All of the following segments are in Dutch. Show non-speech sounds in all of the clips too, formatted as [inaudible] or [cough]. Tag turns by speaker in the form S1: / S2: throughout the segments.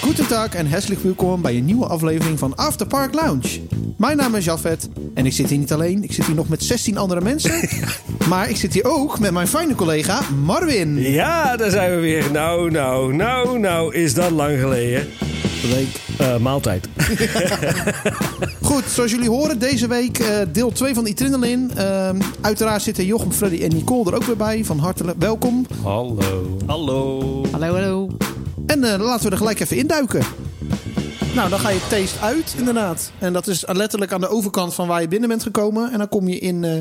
S1: Goeiedag en herzlich welkom bij een nieuwe aflevering van After Park Lounge. Mijn naam is Jafet en ik zit hier niet alleen. Ik zit hier nog met 16 andere mensen. [laughs] Maar ik zit hier ook met mijn fijne collega Marvin.
S2: Ja, daar zijn we weer. Nou, nou, nou, nou, is dat lang geleden.
S1: Week.
S2: Eh, maaltijd.
S1: Goed, zoals jullie horen, deze week eh, deel 2 van Itrinalin. Ehm uiteraard zitten Jochem, Freddy en Nicole er ook weer bij. Van harte welkom.
S2: Hallo. Hallo.
S3: Hallo, hallo.
S1: En eh, laten we er gelijk even induiken. Nou, dan ga je taste uit, inderdaad. En dat is letterlijk aan de overkant van waar je binnen bent gekomen. En dan kom je in. eh,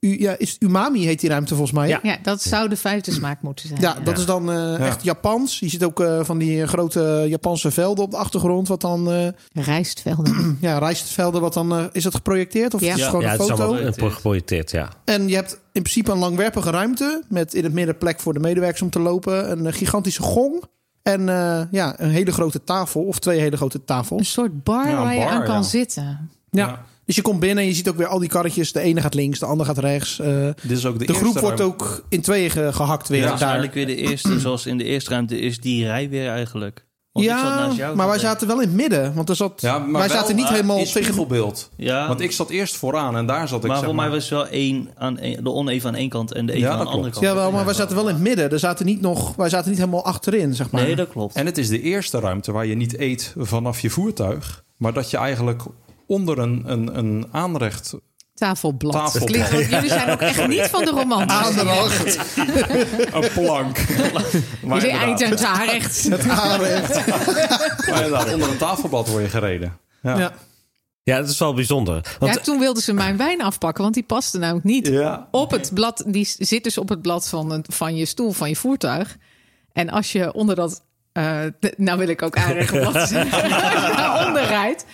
S1: u, ja, is het umami heet die ruimte volgens mij. hè?
S2: Ja.
S3: Ja, dat zou de vijfde smaak moeten zijn.
S1: Ja, dat is dan eh, echt Japans. Je ziet ook eh, van die grote Japanse velden op de achtergrond. Wat dan, eh
S3: Rijstvelden.
S1: ja, rijstvelden, wat dan, eh, is dat geprojecteerd? Of
S3: Ja.
S1: is het
S3: Ja,
S1: gewoon
S2: ja,
S1: een
S2: het is
S1: foto?
S2: allemaal eh, geprojecteerd, ja.
S1: En je hebt in principe een langwerpige ruimte. Met in het midden plek voor de medewerkers om te lopen. Een eh, gigantische gong. En eh, ja, een hele grote tafel. Of twee hele grote tafels.
S3: Een soort bar
S4: Ja, een
S3: waar je
S4: bar,
S3: aan kan
S4: ja.
S3: zitten.
S1: Ja. Dus je komt binnen en je ziet ook weer al die karretjes. De ene gaat links, de ander gaat rechts. Eh, de
S4: Dit is ook de, eerste
S1: groep wordt
S4: ruimte.
S1: ook in tweeën ge- gehakt weer.
S4: Ja,
S1: daar.
S5: eigenlijk weer de eerste, [clears throat] zoals in de eerste ruimte, is die rij weer eigenlijk. Want ik zat
S1: ja
S5: naast jou
S1: maar wij
S5: altijd.
S1: zaten wel in het midden. Want er zat,
S4: Ja, maar
S1: wij
S4: wel,
S1: zaten niet
S4: eh,
S1: helemaal
S4: in
S1: tegen...
S4: spiegelbeeld.
S5: Ja,
S4: Want ik zat eerst vooraan en daar zat ik.
S5: maar
S4: zeg
S5: voor mij was het wel één aan één- de oneven aan één kant en de even
S4: Ja,
S5: aan de
S4: dat
S5: andere kant.
S1: Ja, wel, maar wij zaten wel in het midden. Er zaten niet nog, wij zaten niet helemaal achterin, zeg maar.
S5: Nee, dat klopt.
S4: En het is de eerste ruimte waar je niet eet vanaf je voertuig, maar dat je eigenlijk onder een, een, een aanrecht.
S3: Tafelblad.
S4: Tafelblad.
S3: Klinkt, want jullie zijn ook echt niet van de romantische.
S1: Aanrecht.
S4: Een plank. maar
S3: Jullie
S4: inderdaad,
S3: eind haar
S4: [laughs]
S3: echt.
S1: Het aanrecht.
S4: maar inderdaad, onder een tafelblad word je gereden. Ja.
S1: Ja.
S2: [laughs] Ja, dat is wel bijzonder.
S3: Ja,
S2: Want
S3: toen wilden ze mijn wijn afpakken, want die paste namelijk niet.
S4: Ja.
S3: Op het blad, die zit dus op het blad van, een, van je stoel, van je voertuig. En als je onder dat, eh, d- nou wil ik ook aanrecht
S1: [laughs]
S3: blad zeggen, als je daaronder rijdt,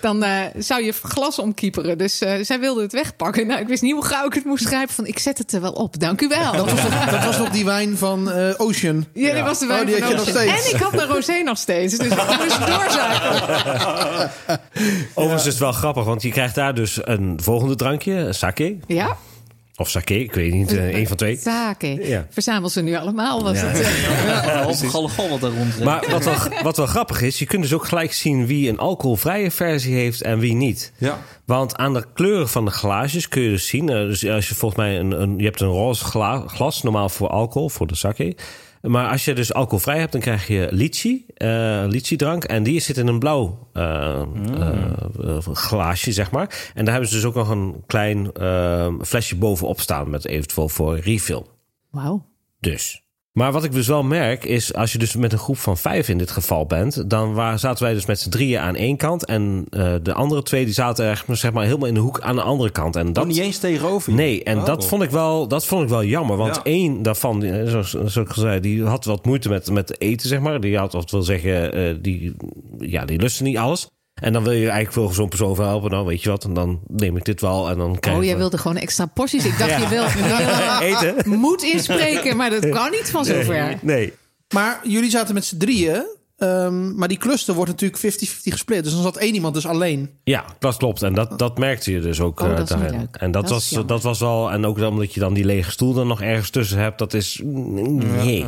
S3: dan eh, zou je glas omkieperen. Dus eh, zij wilde het wegpakken. Nou, ik wist niet hoe gauw ik het moest grijpen. Van, ik zet het er wel op, dank u wel.
S1: Dat, was nog, dat was nog die wijn van eh, Ocean.
S3: [laughs] Ja, dat was de
S1: Oh,
S3: wijn
S1: die
S3: van
S1: had je nog
S3: Ocean.
S1: steeds.
S3: En ik had mijn rosé nog steeds. Dus ik moest
S1: [laughs]
S3: doorzaken.
S2: overigens is het wel grappig, want je krijgt daar dus een volgende drankje, een sake.
S3: Ja,
S2: Of sake, ik weet niet, eh, één van twee.
S3: zaken.
S2: Ja.
S3: Verzamel ze nu allemaal, was
S2: Ja.
S3: het. eh.
S1: [laughs]
S5: Ja, of galgal wat daar rondrent.
S2: Maar wat wel, wat wel grappig is, je kunt dus ook gelijk zien wie een alcoholvrije versie heeft en wie niet.
S4: Ja.
S2: Want aan de kleuren van de glaasjes kun je dus zien. eh, dus als je volgens mij een, een je hebt een roze gla- glas, normaal voor alcohol, voor de sake. Maar als je dus alcoholvrij hebt, dan krijg je litchi, eh litchi-drank. En die zit in een blauw eh, eh, glaasje, zeg maar. En daar hebben ze dus ook nog een klein eh, flesje bovenop staan... met eventueel voor refill.
S3: Wauw.
S2: Dus. Maar wat ik dus wel merk is, als je dus met een groep van vijf in dit geval bent, dan waar, zaten wij dus met z'n drieën aan één kant en eh, de andere twee die zaten echt, zeg maar helemaal in de hoek aan de andere kant. En
S4: Dat
S2: dat,
S4: Oh, niet eens tegenover je.
S2: nee, en
S4: Oh.
S2: dat vond ik wel, dat vond ik wel jammer, want
S4: Ja.
S2: één daarvan, die, eh, zoals, zoals ik al zei, die had wat moeite met, met eten, zeg maar. Die had, wat wil zeggen, eh, die, ja, die lustte niet alles. En dan wil je eigenlijk wel zo'n persoon helpen, dan weet je wat, en dan neem ik dit wel en dan krijg
S3: Oh,
S2: je
S3: jij wilde gewoon extra porties. Ik dacht,
S2: Ja.
S3: je wil je
S2: [laughs] eten.
S3: [laughs] wil moed inspreken, maar dat kan niet van zover.
S2: Nee.
S1: Maar jullie zaten met z'n drieën. ehm, maar die cluster wordt natuurlijk 50-50 gesplit. Dus dan zat één iemand dus alleen.
S2: Ja, dat klopt. En dat, dat merkte je dus ook.
S3: Oh,
S2: eh,
S3: dat is niet
S2: daarin.
S3: leuk.
S2: En dat,
S3: Dat is
S2: was,
S3: jammer.
S2: dat was wel. En ook dan omdat je dan die lege stoel dan nog ergens tussen hebt, dat is. mm, Nee.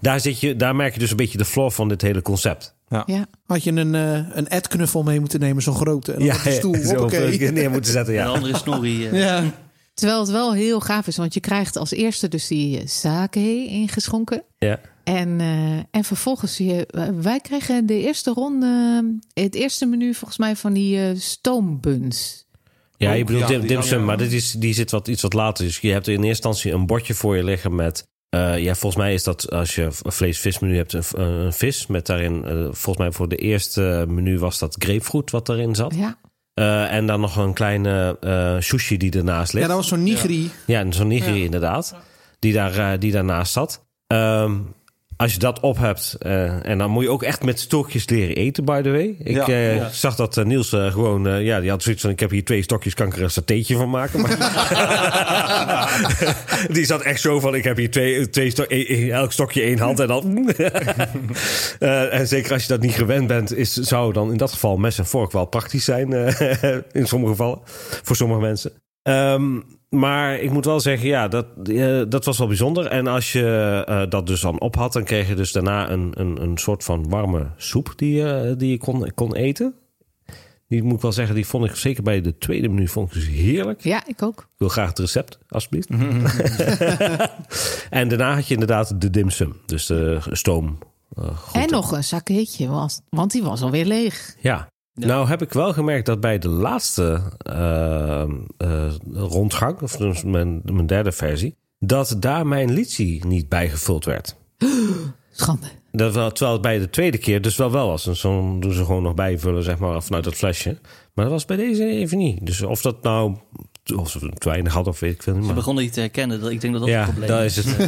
S2: Daar, zit je, daar merk je dus een beetje de floor van dit hele concept.
S3: Ja.
S1: Had je een, eh een ad-knuffel mee moeten nemen, zo'n grote. En dan op Oh, de stoel,
S2: zo
S1: hoppakee.
S2: op- neer moeten zetten.
S5: En de
S2: Ja.
S5: andere is Snorri. eh.
S1: [laughs] Ja.
S3: Terwijl het wel heel gaaf is, want je krijgt als eerste dus die eh, sake ingeschonken.
S2: Ja.
S3: En, eh, en vervolgens, zie je, eh, wij kregen de eerste ronde, eh, het eerste menu volgens mij van die eh, stoombuns.
S2: ja, je
S4: Ook,
S2: bedoelt
S4: ja,
S2: Dim
S4: die
S2: Dimsum,
S4: dan, ja.
S2: maar dit is, die zit wat, iets wat later. Dus je hebt in eerste instantie een bordje voor je liggen met. eh, ja, volgens mij is dat als je een vlees-vismenu hebt, een, v- een vis. Met daarin, eh, volgens mij voor de eerste menu was dat grapefruit wat erin zat.
S3: Ja,
S2: Eh, en dan nog een kleine eh, sushi die ernaast
S1: ja,
S2: ligt.
S1: dat was zo'n nigiri.
S2: Ja, en zo'n nigiri inderdaad. Die, daar, eh, die daarnaast zat. Ehm, als je dat op hebt, eh, en dan moet je ook echt met stokjes leren eten, by the way. Ik
S4: Ja,
S2: eh,
S4: ja.
S2: zag dat eh, Niels eh, gewoon, eh, ja, die had zoiets van: ik heb hier twee stokjes, kan ik er een satéetje van maken. Maar [laughs] die zat echt zo van: ik heb hier twee, twee sto- e- e- elk stokje één hand. En, dan [laughs] Eh, en zeker als je dat niet gewend bent, is, zou dan in dat geval [laughs] mes en vork wel praktisch zijn. eh, in sommige gevallen, voor sommige mensen. Ehm, Maar ik moet wel zeggen, ja, dat, eh, dat was wel bijzonder. En als je eh, dat dus dan op had, dan kreeg je dus daarna een, een, een soort van warme soep die, je- die je kon, kon eten. Die moet ik wel zeggen, die vond ik zeker bij de tweede menu vond ik dus heerlijk.
S3: Ja, ik ook.
S2: Ik wil graag het recept, alsjeblieft. [laughs] en daarna had je inderdaad de dimsum, dus de stoom. eh, groente.
S3: en nog een zakkeetje, want, want die was alweer leeg.
S2: Ja. Nou heb ik wel gemerkt dat bij de laatste eh, eh, rondgang, of dus mijn, mijn derde versie, dat daar mijn litsie niet bijgevuld werd.
S3: Schande.
S2: Dat wel, terwijl het bij de tweede keer dus wel wel was. En zo doen ze gewoon nog bijvullen, zeg maar, vanuit dat flesje. Maar dat was bij deze even niet. Dus of dat nou, of ze te weinig had of weet ik veel niet.
S5: Ze
S2: Maar,
S5: begonnen niet te herkennen. dat- Ik denk dat dat
S2: ja,
S5: het probleem
S2: dat is het.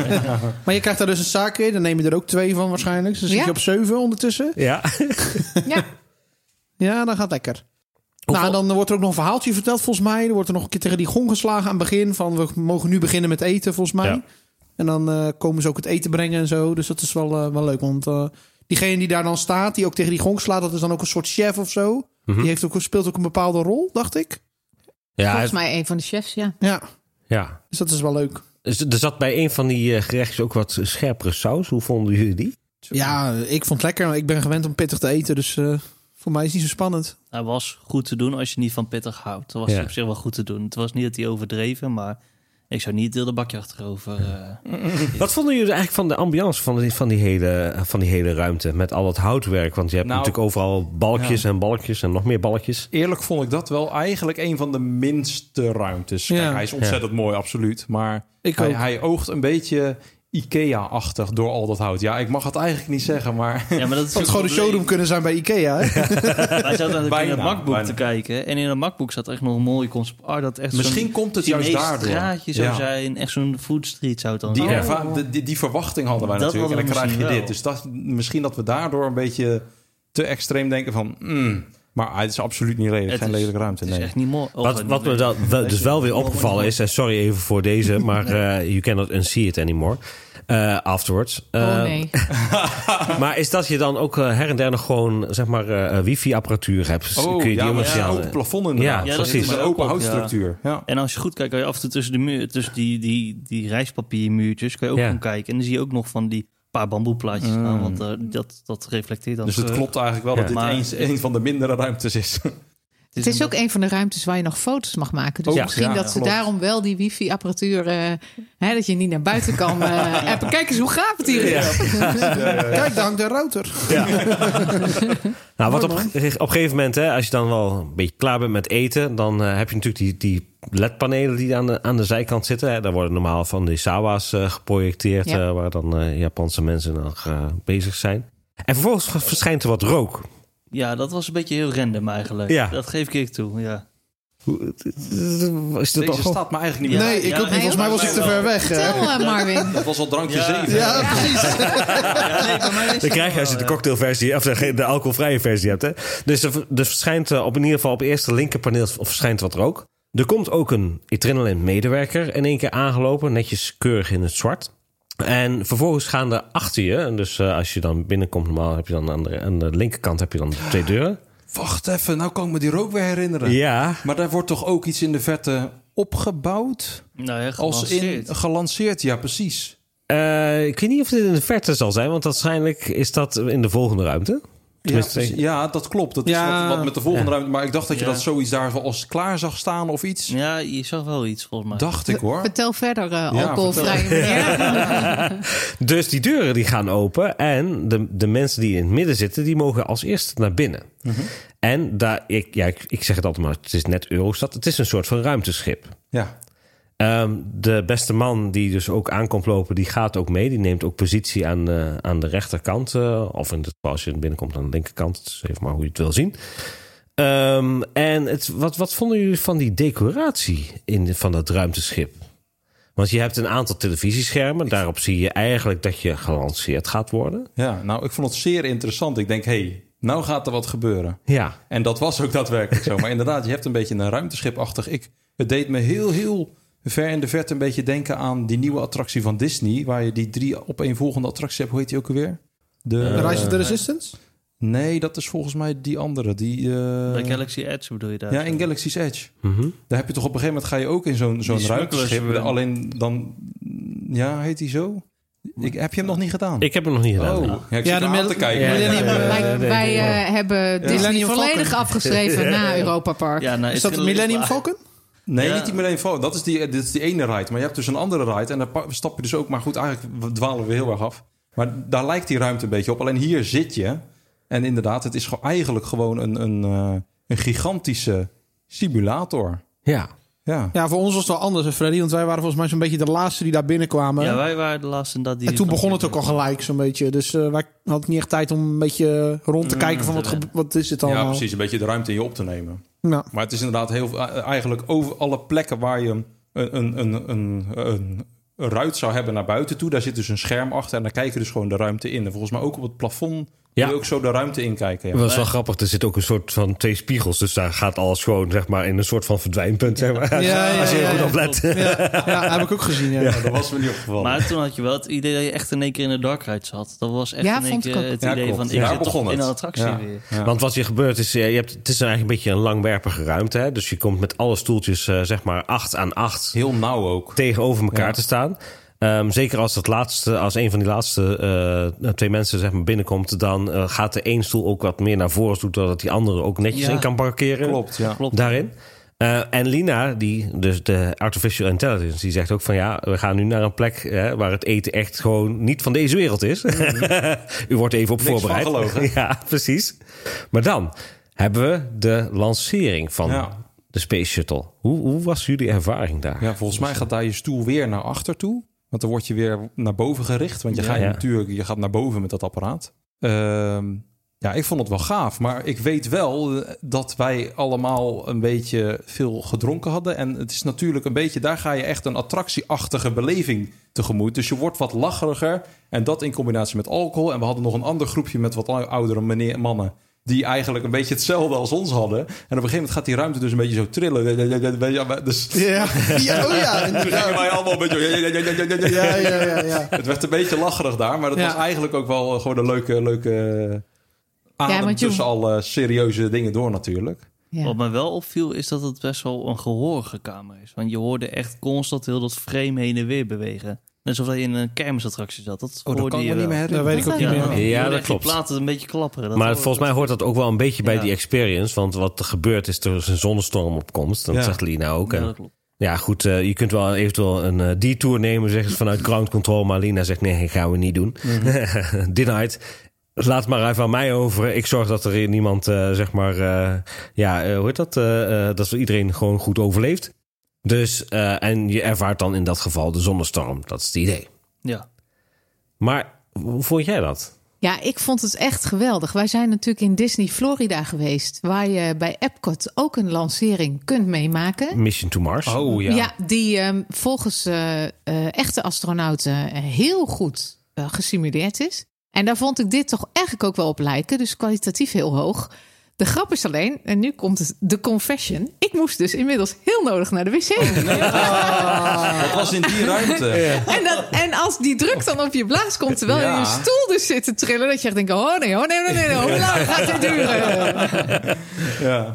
S1: Maar je krijgt daar dus een zaak in. Dan neem je er ook twee van waarschijnlijk. Dus dan
S3: Ja.
S1: zit je op zeven ondertussen.
S2: ja.
S3: Ja,
S1: Ja, dat gaat lekker.
S2: Hoeveel-
S1: Nou, dan wordt er ook nog een verhaaltje verteld volgens mij. Er wordt er nog een keer tegen die gong geslagen aan het begin. Van we mogen nu beginnen met eten volgens mij.
S2: Ja.
S1: En dan eh, komen ze ook het eten brengen en zo. Dus dat is wel, eh, wel leuk. Want eh, diegene die daar dan staat, die ook tegen die gong slaat... dat is dan ook een soort chef of zo. Die heeft ook, speelt ook een bepaalde rol, dacht ik.
S2: ja,
S3: volgens mij een van de chefs, ja.
S1: Ja,
S2: ja.
S1: dus dat is wel leuk.
S2: Dus Er zat bij een van die eh, gerechtjes ook wat scherpere saus. Hoe vonden jullie die?
S1: Ja, ik vond het lekker. maar Ik ben gewend om pittig te eten, dus eh, voor mij is het niet zo spannend.
S5: Hij was goed te doen als je niet van pittig houdt. Dat was
S2: Ja.
S5: hij op zich wel goed te doen. Het was niet dat hij overdreven, maar ik zou niet heel de bakje achterover.
S1: [laughs]
S5: eh.
S2: Wat vonden jullie eigenlijk van de ambiance van die, van die, hele, van die hele ruimte? Met al dat houtwerk. Want je hebt
S4: Nou,
S2: natuurlijk overal balkjes
S4: ja.
S2: en balkjes en nog meer balkjes.
S4: Eerlijk vond ik dat wel eigenlijk een van de minste ruimtes. Kijk,
S1: Ja.
S4: hij is ontzettend mooi, absoluut. Maar
S1: Ik
S4: hij,
S1: ook.
S4: hij oogt een beetje IKEA-achtig door al dat hout. Ja, ik mag het eigenlijk niet zeggen, maar...
S5: Ja, maar dat is
S1: Het had gewoon een showroom kunnen zijn bij Ikea. hè?
S5: [laughs] Wij zaten natuurlijk in het
S4: Bijna,
S5: MacBook
S4: bijna.
S5: te kijken. En in het MacBook zat echt nog een mooi concept. art dat echt
S4: Misschien
S5: zo'n
S4: komt het juist
S5: Chinees
S4: daardoor.
S5: straatje zou
S4: Ja.
S5: zijn. Echt zo'n food street zou het dan
S4: [laughs] [laughs] Die,
S5: zijn.
S4: erva- de- die, die verwachting hadden wij
S5: Dat
S4: natuurlijk.
S5: hadden
S4: en dan
S5: we
S4: krijg je
S5: misschien
S4: dit. Dus dat, misschien dat we daardoor een beetje te extreem denken van... mm, maar ah, het is absoluut niet lelijk.
S5: Het
S4: Geen
S5: is-
S4: lelijke ruimte,
S5: Het is
S4: nee.
S5: echt niet mooi. Oh,
S2: Wat,
S5: niet
S2: wat me
S5: mooi.
S2: dan wel- dus wel weer
S5: Oh,
S2: opgevallen
S5: mooi.
S2: is. En sorry even voor
S3: [laughs]
S2: deze, maar eh you cannot unsee it anymore. eh afterwards.
S3: oh
S2: Eh,
S3: nee.
S2: Maar is dat je dan ook eh, her en der nog gewoon zeg maar eh, wifi-apparatuur hebt?
S4: Oh,
S2: Kun je die
S4: ja, maar
S2: ook
S4: het is
S2: eens
S4: een
S2: aan-
S4: open plafond inderdaad.
S2: Ja,
S4: Ja,
S2: precies.
S4: precies. Het is een open houtstructuur. Ja.
S5: En als je goed kijkt, kan je af en toe tussen, de muur, tussen die, die, die rijspapiermuurtjes kan je ook
S2: Ja.
S5: gaan kijken. En dan zie je ook nog van die paar bamboeplaatjes aan. Want eh, dat, dat reflecteert dan.
S4: Mm. Dus het
S5: terug.
S4: klopt eigenlijk wel
S2: Ja.
S4: dat dit
S5: eh, Maar-
S4: eens een van de mindere ruimtes is.
S3: Het is ook een van de ruimtes waar je nog foto's mag maken. Dus
S4: Oh,
S3: misschien
S4: ja,
S3: dat ze
S4: klopt.
S3: daarom wel die wifi-apparatuur... eh, hè, dat je niet naar buiten kan eh appen. Kijk eens, hoe gaaf het hier is.
S1: Kijk, daar hangt een router.
S2: Nou, wat op, op een gegeven moment, hè, als je dan wel een beetje klaar bent met eten, dan eh, heb je natuurlijk die, die LED-panelen die aan de, aan de zijkant zitten. Hè. Daar worden normaal van die Sawa's eh, geprojecteerd,
S3: Ja.
S2: eh, waar dan eh, Japanse mensen nog eh, bezig zijn. En vervolgens v- verschijnt er wat rook.
S5: Ja, dat was een beetje heel random eigenlijk.
S2: Ja.
S5: Dat geef ik eerlijk toe, ja.
S2: Hoe- Is
S4: [laughs]
S2: dat
S4: Deze
S2: toch
S4: staat me eigenlijk niet
S5: Ja.
S4: meer.
S1: nee, ik
S5: ja,
S1: ook niet.
S5: nee,
S1: Volgens mij was ik te ver weg. hè.
S3: Vertel, eh, Marvin.
S4: Dat was al drankje
S5: Ja.
S4: 7.
S1: Ja, precies.
S2: Dan krijg je als je de cocktailversie of de, de alcoholvrije versie hebt. Hè? Dus er, dus verschijnt eh, op in ieder geval op eerste linkerpaneel of verschijnt wat rook. Er komt ook een Etrinolin medewerker in één keer aangelopen, netjes keurig in het zwart. En vervolgens gaan er achter je, en dus eh, als je dan binnenkomt, normaal heb je dan aan de, aan de linkerkant heb je dan twee deuren.
S4: Wacht even, nou kan ik me die rook weer herinneren.
S2: Ja,
S4: Maar daar wordt toch ook iets in de verte opgebouwd?
S5: Nou ja,
S4: Als in gelanceerd, ja precies.
S2: Eh, ik weet niet of dit in de verte zal zijn, want waarschijnlijk is dat in de volgende ruimte.
S4: Ja,
S2: Tenminste,
S4: precies. Dus, ja, dat klopt. Dat
S1: Ja.
S4: is wat, wat met de volgende ruimte. Maar ik dacht dat je
S5: Ja.
S4: dat zoiets daar als klaar zag staan of iets.
S5: Ja, je zag wel iets volgens mij.
S4: Dacht ik hoor.
S3: Vertel verder, eh
S2: [laughs]
S3: alcoholvrije meneer.
S2: Dus die deuren die gaan open en de, de mensen die in het midden zitten, die mogen als eerste naar binnen. En daar, ik, ja, ik, ik zeg het altijd maar, het is net Eurostad, het is een soort van ruimteschip.
S4: Ja.
S2: Ehm, de beste man die dus ook aankomt lopen, die gaat ook mee. Die neemt ook positie aan, eh, aan de rechterkant. eh, of in het geval als je binnenkomt aan de linkerkant. Het is even maar hoe je het wil zien. Ehm, en het, wat, wat vonden jullie van die decoratie in, de- van dat ruimteschip? Want je hebt een aantal televisieschermen. Daarop zie je eigenlijk dat je gelanceerd gaat worden.
S4: ja, nou ik vond het zeer interessant. Ik denk, hé, hey, nou gaat er wat gebeuren.
S2: Ja,
S4: En dat was ook daadwerkelijk zo. Maar inderdaad, je hebt een beetje een ruimteschipachtig. Ik, het deed me heel, heel ver in de verte een beetje denken aan die nieuwe attractie van
S1: Eh,
S4: Disney. Waar je die drie opeenvolgende attracties hebt. Hoe heet die ook alweer? De,
S1: Rise of the Resistance?
S4: Nee, dat is volgens mij die andere. Die, eh,
S5: Bij Galaxy Edge bedoel je daar?
S4: ja, in Galaxy's Edge.
S2: Mhm.
S4: Daar heb je toch op een gegeven moment ga je ook in zo'n zo'n
S5: Die
S4: ruimteschip.
S5: smugglers-
S4: Alleen dan, ja, heet die zo? Ik, heb je hem nog niet gedaan?
S2: Ik heb hem nog niet gedaan.
S4: oh,
S2: nee.
S4: ja, ik
S1: Ja,
S4: zit
S1: de
S4: hem aan
S1: middel-
S4: te kijken.
S1: Ja, Millennium,
S2: Eh,
S1: eh,
S3: Wij,
S2: nee,
S3: wij
S2: nee.
S3: eh, hebben Disney
S1: Millennium
S3: volledig
S1: Falcon.
S3: afgeschreven na Europa Park.
S5: Ja, nou,
S1: Is
S5: het
S1: dat
S5: wil-
S1: Millennium
S5: maar-
S1: Falcon?
S4: Nee,
S5: Ja.
S4: niet die Millennium Falcon. Dat is die, eh, dit is die ene ride. Maar je hebt dus een andere ride. En daar pa- stap je dus ook... Maar goed, eigenlijk we dwalen we heel erg af. Maar daar lijkt die ruimte een beetje op. Alleen hier zit je. En inderdaad, het is gewoon eigenlijk gewoon een, een, eh, een gigantische simulator.
S2: Ja.
S4: Ja.
S1: Ja, voor ons was het wel anders, hè, Freddy. Want wij waren volgens mij zo'n beetje de laatste die daar binnenkwamen.
S5: Ja, wij waren de laatste dat die...
S1: en toen begon het ook al gelijk, zo'n beetje. Dus eh, wij hadden niet echt tijd om een beetje rond te kijken van wat, gebe- wat is dit allemaal.
S4: Mm, ja, precies. Een beetje de ruimte in je op te nemen.
S1: Nou,
S4: Maar het is inderdaad heel, eigenlijk over alle plekken waar je een, een, een, een, een ruit zou hebben naar buiten toe. Daar zit dus een scherm achter en daar kijk je dus gewoon de ruimte in. En volgens mij ook op het plafond
S2: Ja.
S4: kun je ook zo de ruimte in kijken. Ja.
S2: Dat was wel grappig. Er zit ook een soort van twee spiegels. Dus daar gaat alles gewoon zeg maar, in een soort van verdwijnpunt. Zeg maar.
S1: Ja, ja,
S2: Als je
S1: ja,
S2: goed
S1: ja.
S2: oplet.
S1: ja, heb ik ook gezien. Ja.
S4: Ja, dat was me niet opgevallen.
S5: Maar toen had je wel het idee dat je echt in één keer in de dark ride zat. Dat was echt
S3: Ja,
S5: in één
S3: vond ik
S5: keer
S3: ook.
S5: het
S4: Ja,
S5: idee
S4: klopt.
S5: van... Ik
S4: Ja,
S5: zit
S4: daar
S5: toch
S4: begon
S5: in
S4: het.
S5: een attractie
S4: Ja.
S5: weer.
S4: Ja.
S2: Want wat hier gebeurt is, eh, je hebt, het is eigenlijk een beetje een langwerpige ruimte. Hè? Dus je komt met alle stoeltjes, eh, zeg maar, acht aan acht
S4: heel nauw ook.
S2: tegenover elkaar
S4: Ja.
S2: te staan. Ehm, zeker als, dat laatste, als een van die laatste eh, twee mensen zeg maar, binnenkomt... dan eh, gaat de één stoel ook wat meer naar voren toe... zodat die andere ook netjes
S5: Ja.
S2: in kan parkeren.
S4: Klopt, ja.
S5: Klopt.
S2: Daarin. Eh, en Lina, die, dus de artificial intelligence, die zegt ook van... ja, we gaan nu naar een plek hè, waar het eten echt gewoon niet van deze wereld is. [laughs] U wordt even op
S4: Mhm. Niks van
S2: voorbereid.
S4: gelogen.
S2: [laughs] ja, precies. Maar dan hebben we de lancering van
S4: Ja.
S2: de Space Shuttle. Hoe, hoe was jullie ervaring daar?
S4: Ja, volgens mij gaat daar je stoel weer naar achter toe. Want dan word je weer naar boven gericht. Want je,
S5: Ja,
S4: gaat,
S2: ja.
S4: natuurlijk, je gaat naar boven met dat apparaat. Ehm, ja, ik vond het wel gaaf. Maar ik weet wel eh, dat wij allemaal een beetje veel gedronken hadden. En het is natuurlijk een beetje... Daar ga je echt een attractieachtige beleving tegemoet. Dus je wordt wat lacheriger. En dat in combinatie met alcohol. En we hadden nog een ander groepje met wat ou- oudere meneer, mannen. Die eigenlijk een beetje hetzelfde als ons hadden. En op een gegeven moment gaat die ruimte dus een beetje zo trillen. [laughs] Dus
S1: Ja. Ja, oh ja,
S4: toen gingen wij allemaal een beetje... ja, ja, ja, ja, ja, ja,
S1: ja,
S4: ja.
S1: ja, ja, ja.
S4: Het werd een beetje lacherig daar, maar dat
S1: Ja.
S4: was eigenlijk ook wel eh, gewoon een leuke, leuke adem
S3: want je-
S4: tussen alle serieuze dingen door natuurlijk.
S3: Ja.
S5: Wat mij wel opviel is dat het best wel een gehoorige kamer is. Want je hoorde echt constant heel dat frame heen en weer bewegen. Net alsof dat je in een kermisattractie zat. Oh, Dat hoorde je wel.
S1: Dat weet Oh, ik ook niet
S5: Ja,
S1: meer.
S5: je
S2: Ja,
S5: hoorde
S2: dat
S5: echt
S2: klopt.
S5: Die platen een beetje klapperen. Dat
S2: maar
S5: hoorde-
S2: volgens mij hoort dat ook wel een beetje bij
S5: Ja.
S2: die experience. Want wat er gebeurt is, er is een zonnestorm opkomst. Dat
S4: Ja.
S2: zegt Lina ook.
S5: Ja,
S2: En
S5: dat klopt.
S2: Ja, goed, eh, je kunt wel eventueel een eh, detour nemen, zeggen ze vanuit ground control. Maar Lina zegt, nee, gaan we niet doen. [laughs] Denied. Laat maar even aan mij over. Ik zorg dat er hier niemand, eh, zeg maar, eh, ja, eh, hoe heet dat? Eh, eh, dat iedereen gewoon goed overleeft. Dus, eh, en je ervaart dan in dat geval de zonnestorm. Dat is het idee.
S5: Ja.
S2: Maar hoe vond jij dat?
S3: Ja, ik vond het echt geweldig. Wij zijn natuurlijk in Disney Florida geweest, waar je bij Epcot ook een lancering kunt meemaken.
S2: Mission to Mars.
S4: Oh
S3: Ja, die ehm, volgens eh, eh, echte astronauten eh, heel goed eh, gesimuleerd is. En daar vond ik dit toch eigenlijk ook wel op lijken, dus kwalitatief heel hoog. De grap is alleen, en nu komt het, de confession. Ik moest dus inmiddels heel nodig naar de wc.
S4: Dat was in die ruimte.
S3: En, dat, en als die druk dan op je blaas komt, terwijl je
S4: Ja.
S3: in je stoel dus zit te trillen, dat je echt denkt: oh nee, oh nee, oh nee, nee, nee, hoe lang gaat dit duren?
S4: Ja.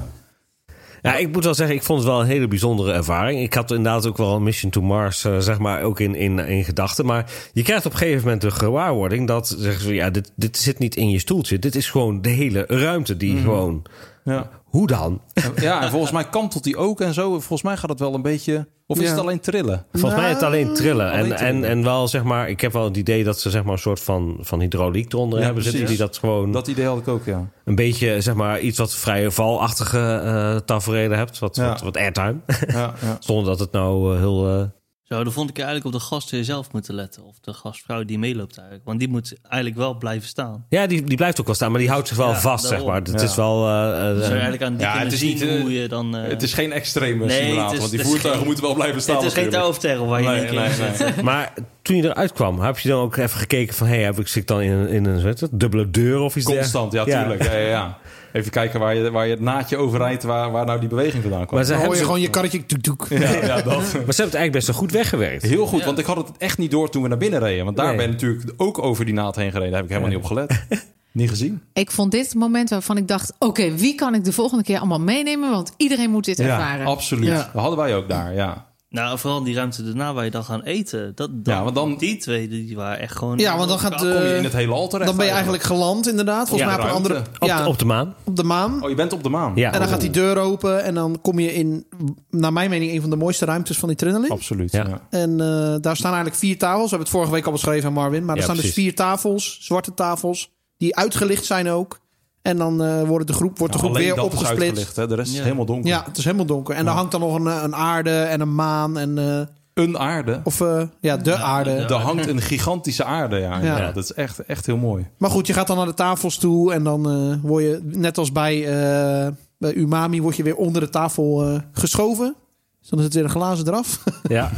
S2: Ja, ik moet wel zeggen, ik vond het wel een hele bijzondere ervaring. Ik had inderdaad ook wel een Mission to Mars, eh, zeg maar, ook in, in, in gedachten. Maar je krijgt op een gegeven moment de gewaarwording dat, zeggen ze, ja, dit, dit zit niet in je stoeltje. Dit is gewoon de hele ruimte die gewoon,
S4: Mhm. Ja.
S2: hoe dan?
S4: ja, en volgens mij kantelt die ook en zo. Volgens mij gaat het wel een beetje... Of is
S1: Ja.
S4: het alleen trillen?
S2: Volgens mij het alleen trillen.
S4: alleen
S2: En, en,
S4: trillen.
S2: en wel, zeg maar, ik heb wel het idee dat ze, zeg maar, een soort van, van hydrauliek eronder
S4: Ja,
S2: hebben zitten. Die
S4: precies.
S2: dat gewoon
S4: Dat idee had ik ook, ja.
S2: een beetje, zeg maar, iets wat vrije valachtige eh tafereelen hebt. Wat,
S4: Ja.
S2: wat, wat airtime. [laughs]
S4: ja, ja.
S2: Zonder dat het nou eh, heel... eh,
S5: Zo, dan vond ik eigenlijk op de gastheer zelf moeten letten. Of de gastvrouw die meeloopt eigenlijk. Want die moet eigenlijk wel blijven staan.
S2: Ja, die, die blijft ook wel staan, maar die houdt zich wel
S5: Ja,
S2: vast, zeg
S5: daarom.
S2: maar. Het
S4: Ja.
S2: is wel... eh, eh,
S5: Dus eigenlijk aan die
S4: Ja,
S5: kunnen
S4: het is
S5: zien
S4: niet, eh,
S5: hoe je dan... eh,
S4: Het is geen extreme
S5: Nee,
S4: simulator,
S5: het is-
S4: want die
S5: het is
S4: voertuigen
S5: geen-
S4: moeten wel blijven staan.
S5: het is geen
S4: natuurlijk.
S5: touw of terror waar je in één
S4: Nee,
S5: keer in
S4: nee, [laughs]
S5: zit.
S2: [laughs]
S4: nee.
S2: eh, maar toen je eruit kwam, heb je dan ook even gekeken van... hey, heb ik zit dan in een, in een weet je, dubbele deur of iets
S4: Constant, ja,
S2: dergelijks?
S4: tuurlijk. Ja, ja, ja. Even kijken waar je, waar je het naadje overrijdt, waar, waar nou die beweging vandaan komt.
S2: Maar ze,
S1: Dan hoor
S2: hebben
S1: je
S2: ze,
S1: gewoon je karretje toek toek.
S4: Ja, ja, dat.
S2: maar ze hebben het eigenlijk best wel goed weggewerkt.
S4: Heel goed,
S5: Ja.
S4: want ik had het echt niet door toen we naar binnen reden. Want daar
S2: Nee.
S4: ben ik natuurlijk ook over die naald heen gereden. Daar heb ik helemaal niet op gelet. Niet gezien.
S3: Ik vond dit het moment waarvan ik dacht... oké, wie kan ik de volgende keer allemaal meenemen? Want iedereen moet dit ervaren.
S4: absoluut.
S1: Ja.
S4: Dat hadden wij ook daar, ja.
S5: Nou, vooral die ruimte daarna waar je dan gaan eten. Dat, dat,
S4: Ja, want dan-
S5: Die twee, die waren echt gewoon...
S1: Ja, want dan gaat eh,
S4: Kom je in
S1: de...
S4: het hele alter
S1: Dan ben je eigenlijk geland, inderdaad. Volgens mij
S2: Ja,
S1: op een andere...
S4: ruimte.
S2: Op,
S1: Ja,
S2: de- op de maan.
S1: op de maan.
S4: Oh, je bent op de maan?
S2: Ja.
S1: En dan gaat die deur open en dan kom je in, naar mijn mening, een van de mooiste ruimtes van die Adrenaline.
S4: Absoluut,
S2: Ja.
S4: ja. Nou,
S1: En eh, daar staan eigenlijk vier tafels. We hebben het vorige week al beschreven aan Marvin. Maar
S2: Ja,
S1: er staan
S2: precies.
S1: dus vier tafels, zwarte tafels, die uitgelicht zijn ook. En dan eh, wordt de groep, wordt de
S4: Nou,
S1: groep
S4: alleen
S1: weer
S4: dat is
S1: opgesplitst.
S4: uitgelicht, hè. De rest
S5: Ja.
S4: is helemaal donker.
S1: Ja, het is helemaal donker. En daar hangt dan nog een, eh, een aarde en een maan. En, eh,
S4: Een aarde.
S1: of eh, ja, de aarde.
S5: ja.
S4: Daar hangt een gigantische aarde, ja. inderdaad. Dat is echt, echt heel mooi.
S1: Maar goed, je gaat dan naar de tafels toe. En dan eh, word je, net als bij, eh, bij Umami, word je weer onder de tafel eh, geschoven. Dus dan is het weer een glazen eraf.
S2: Ja.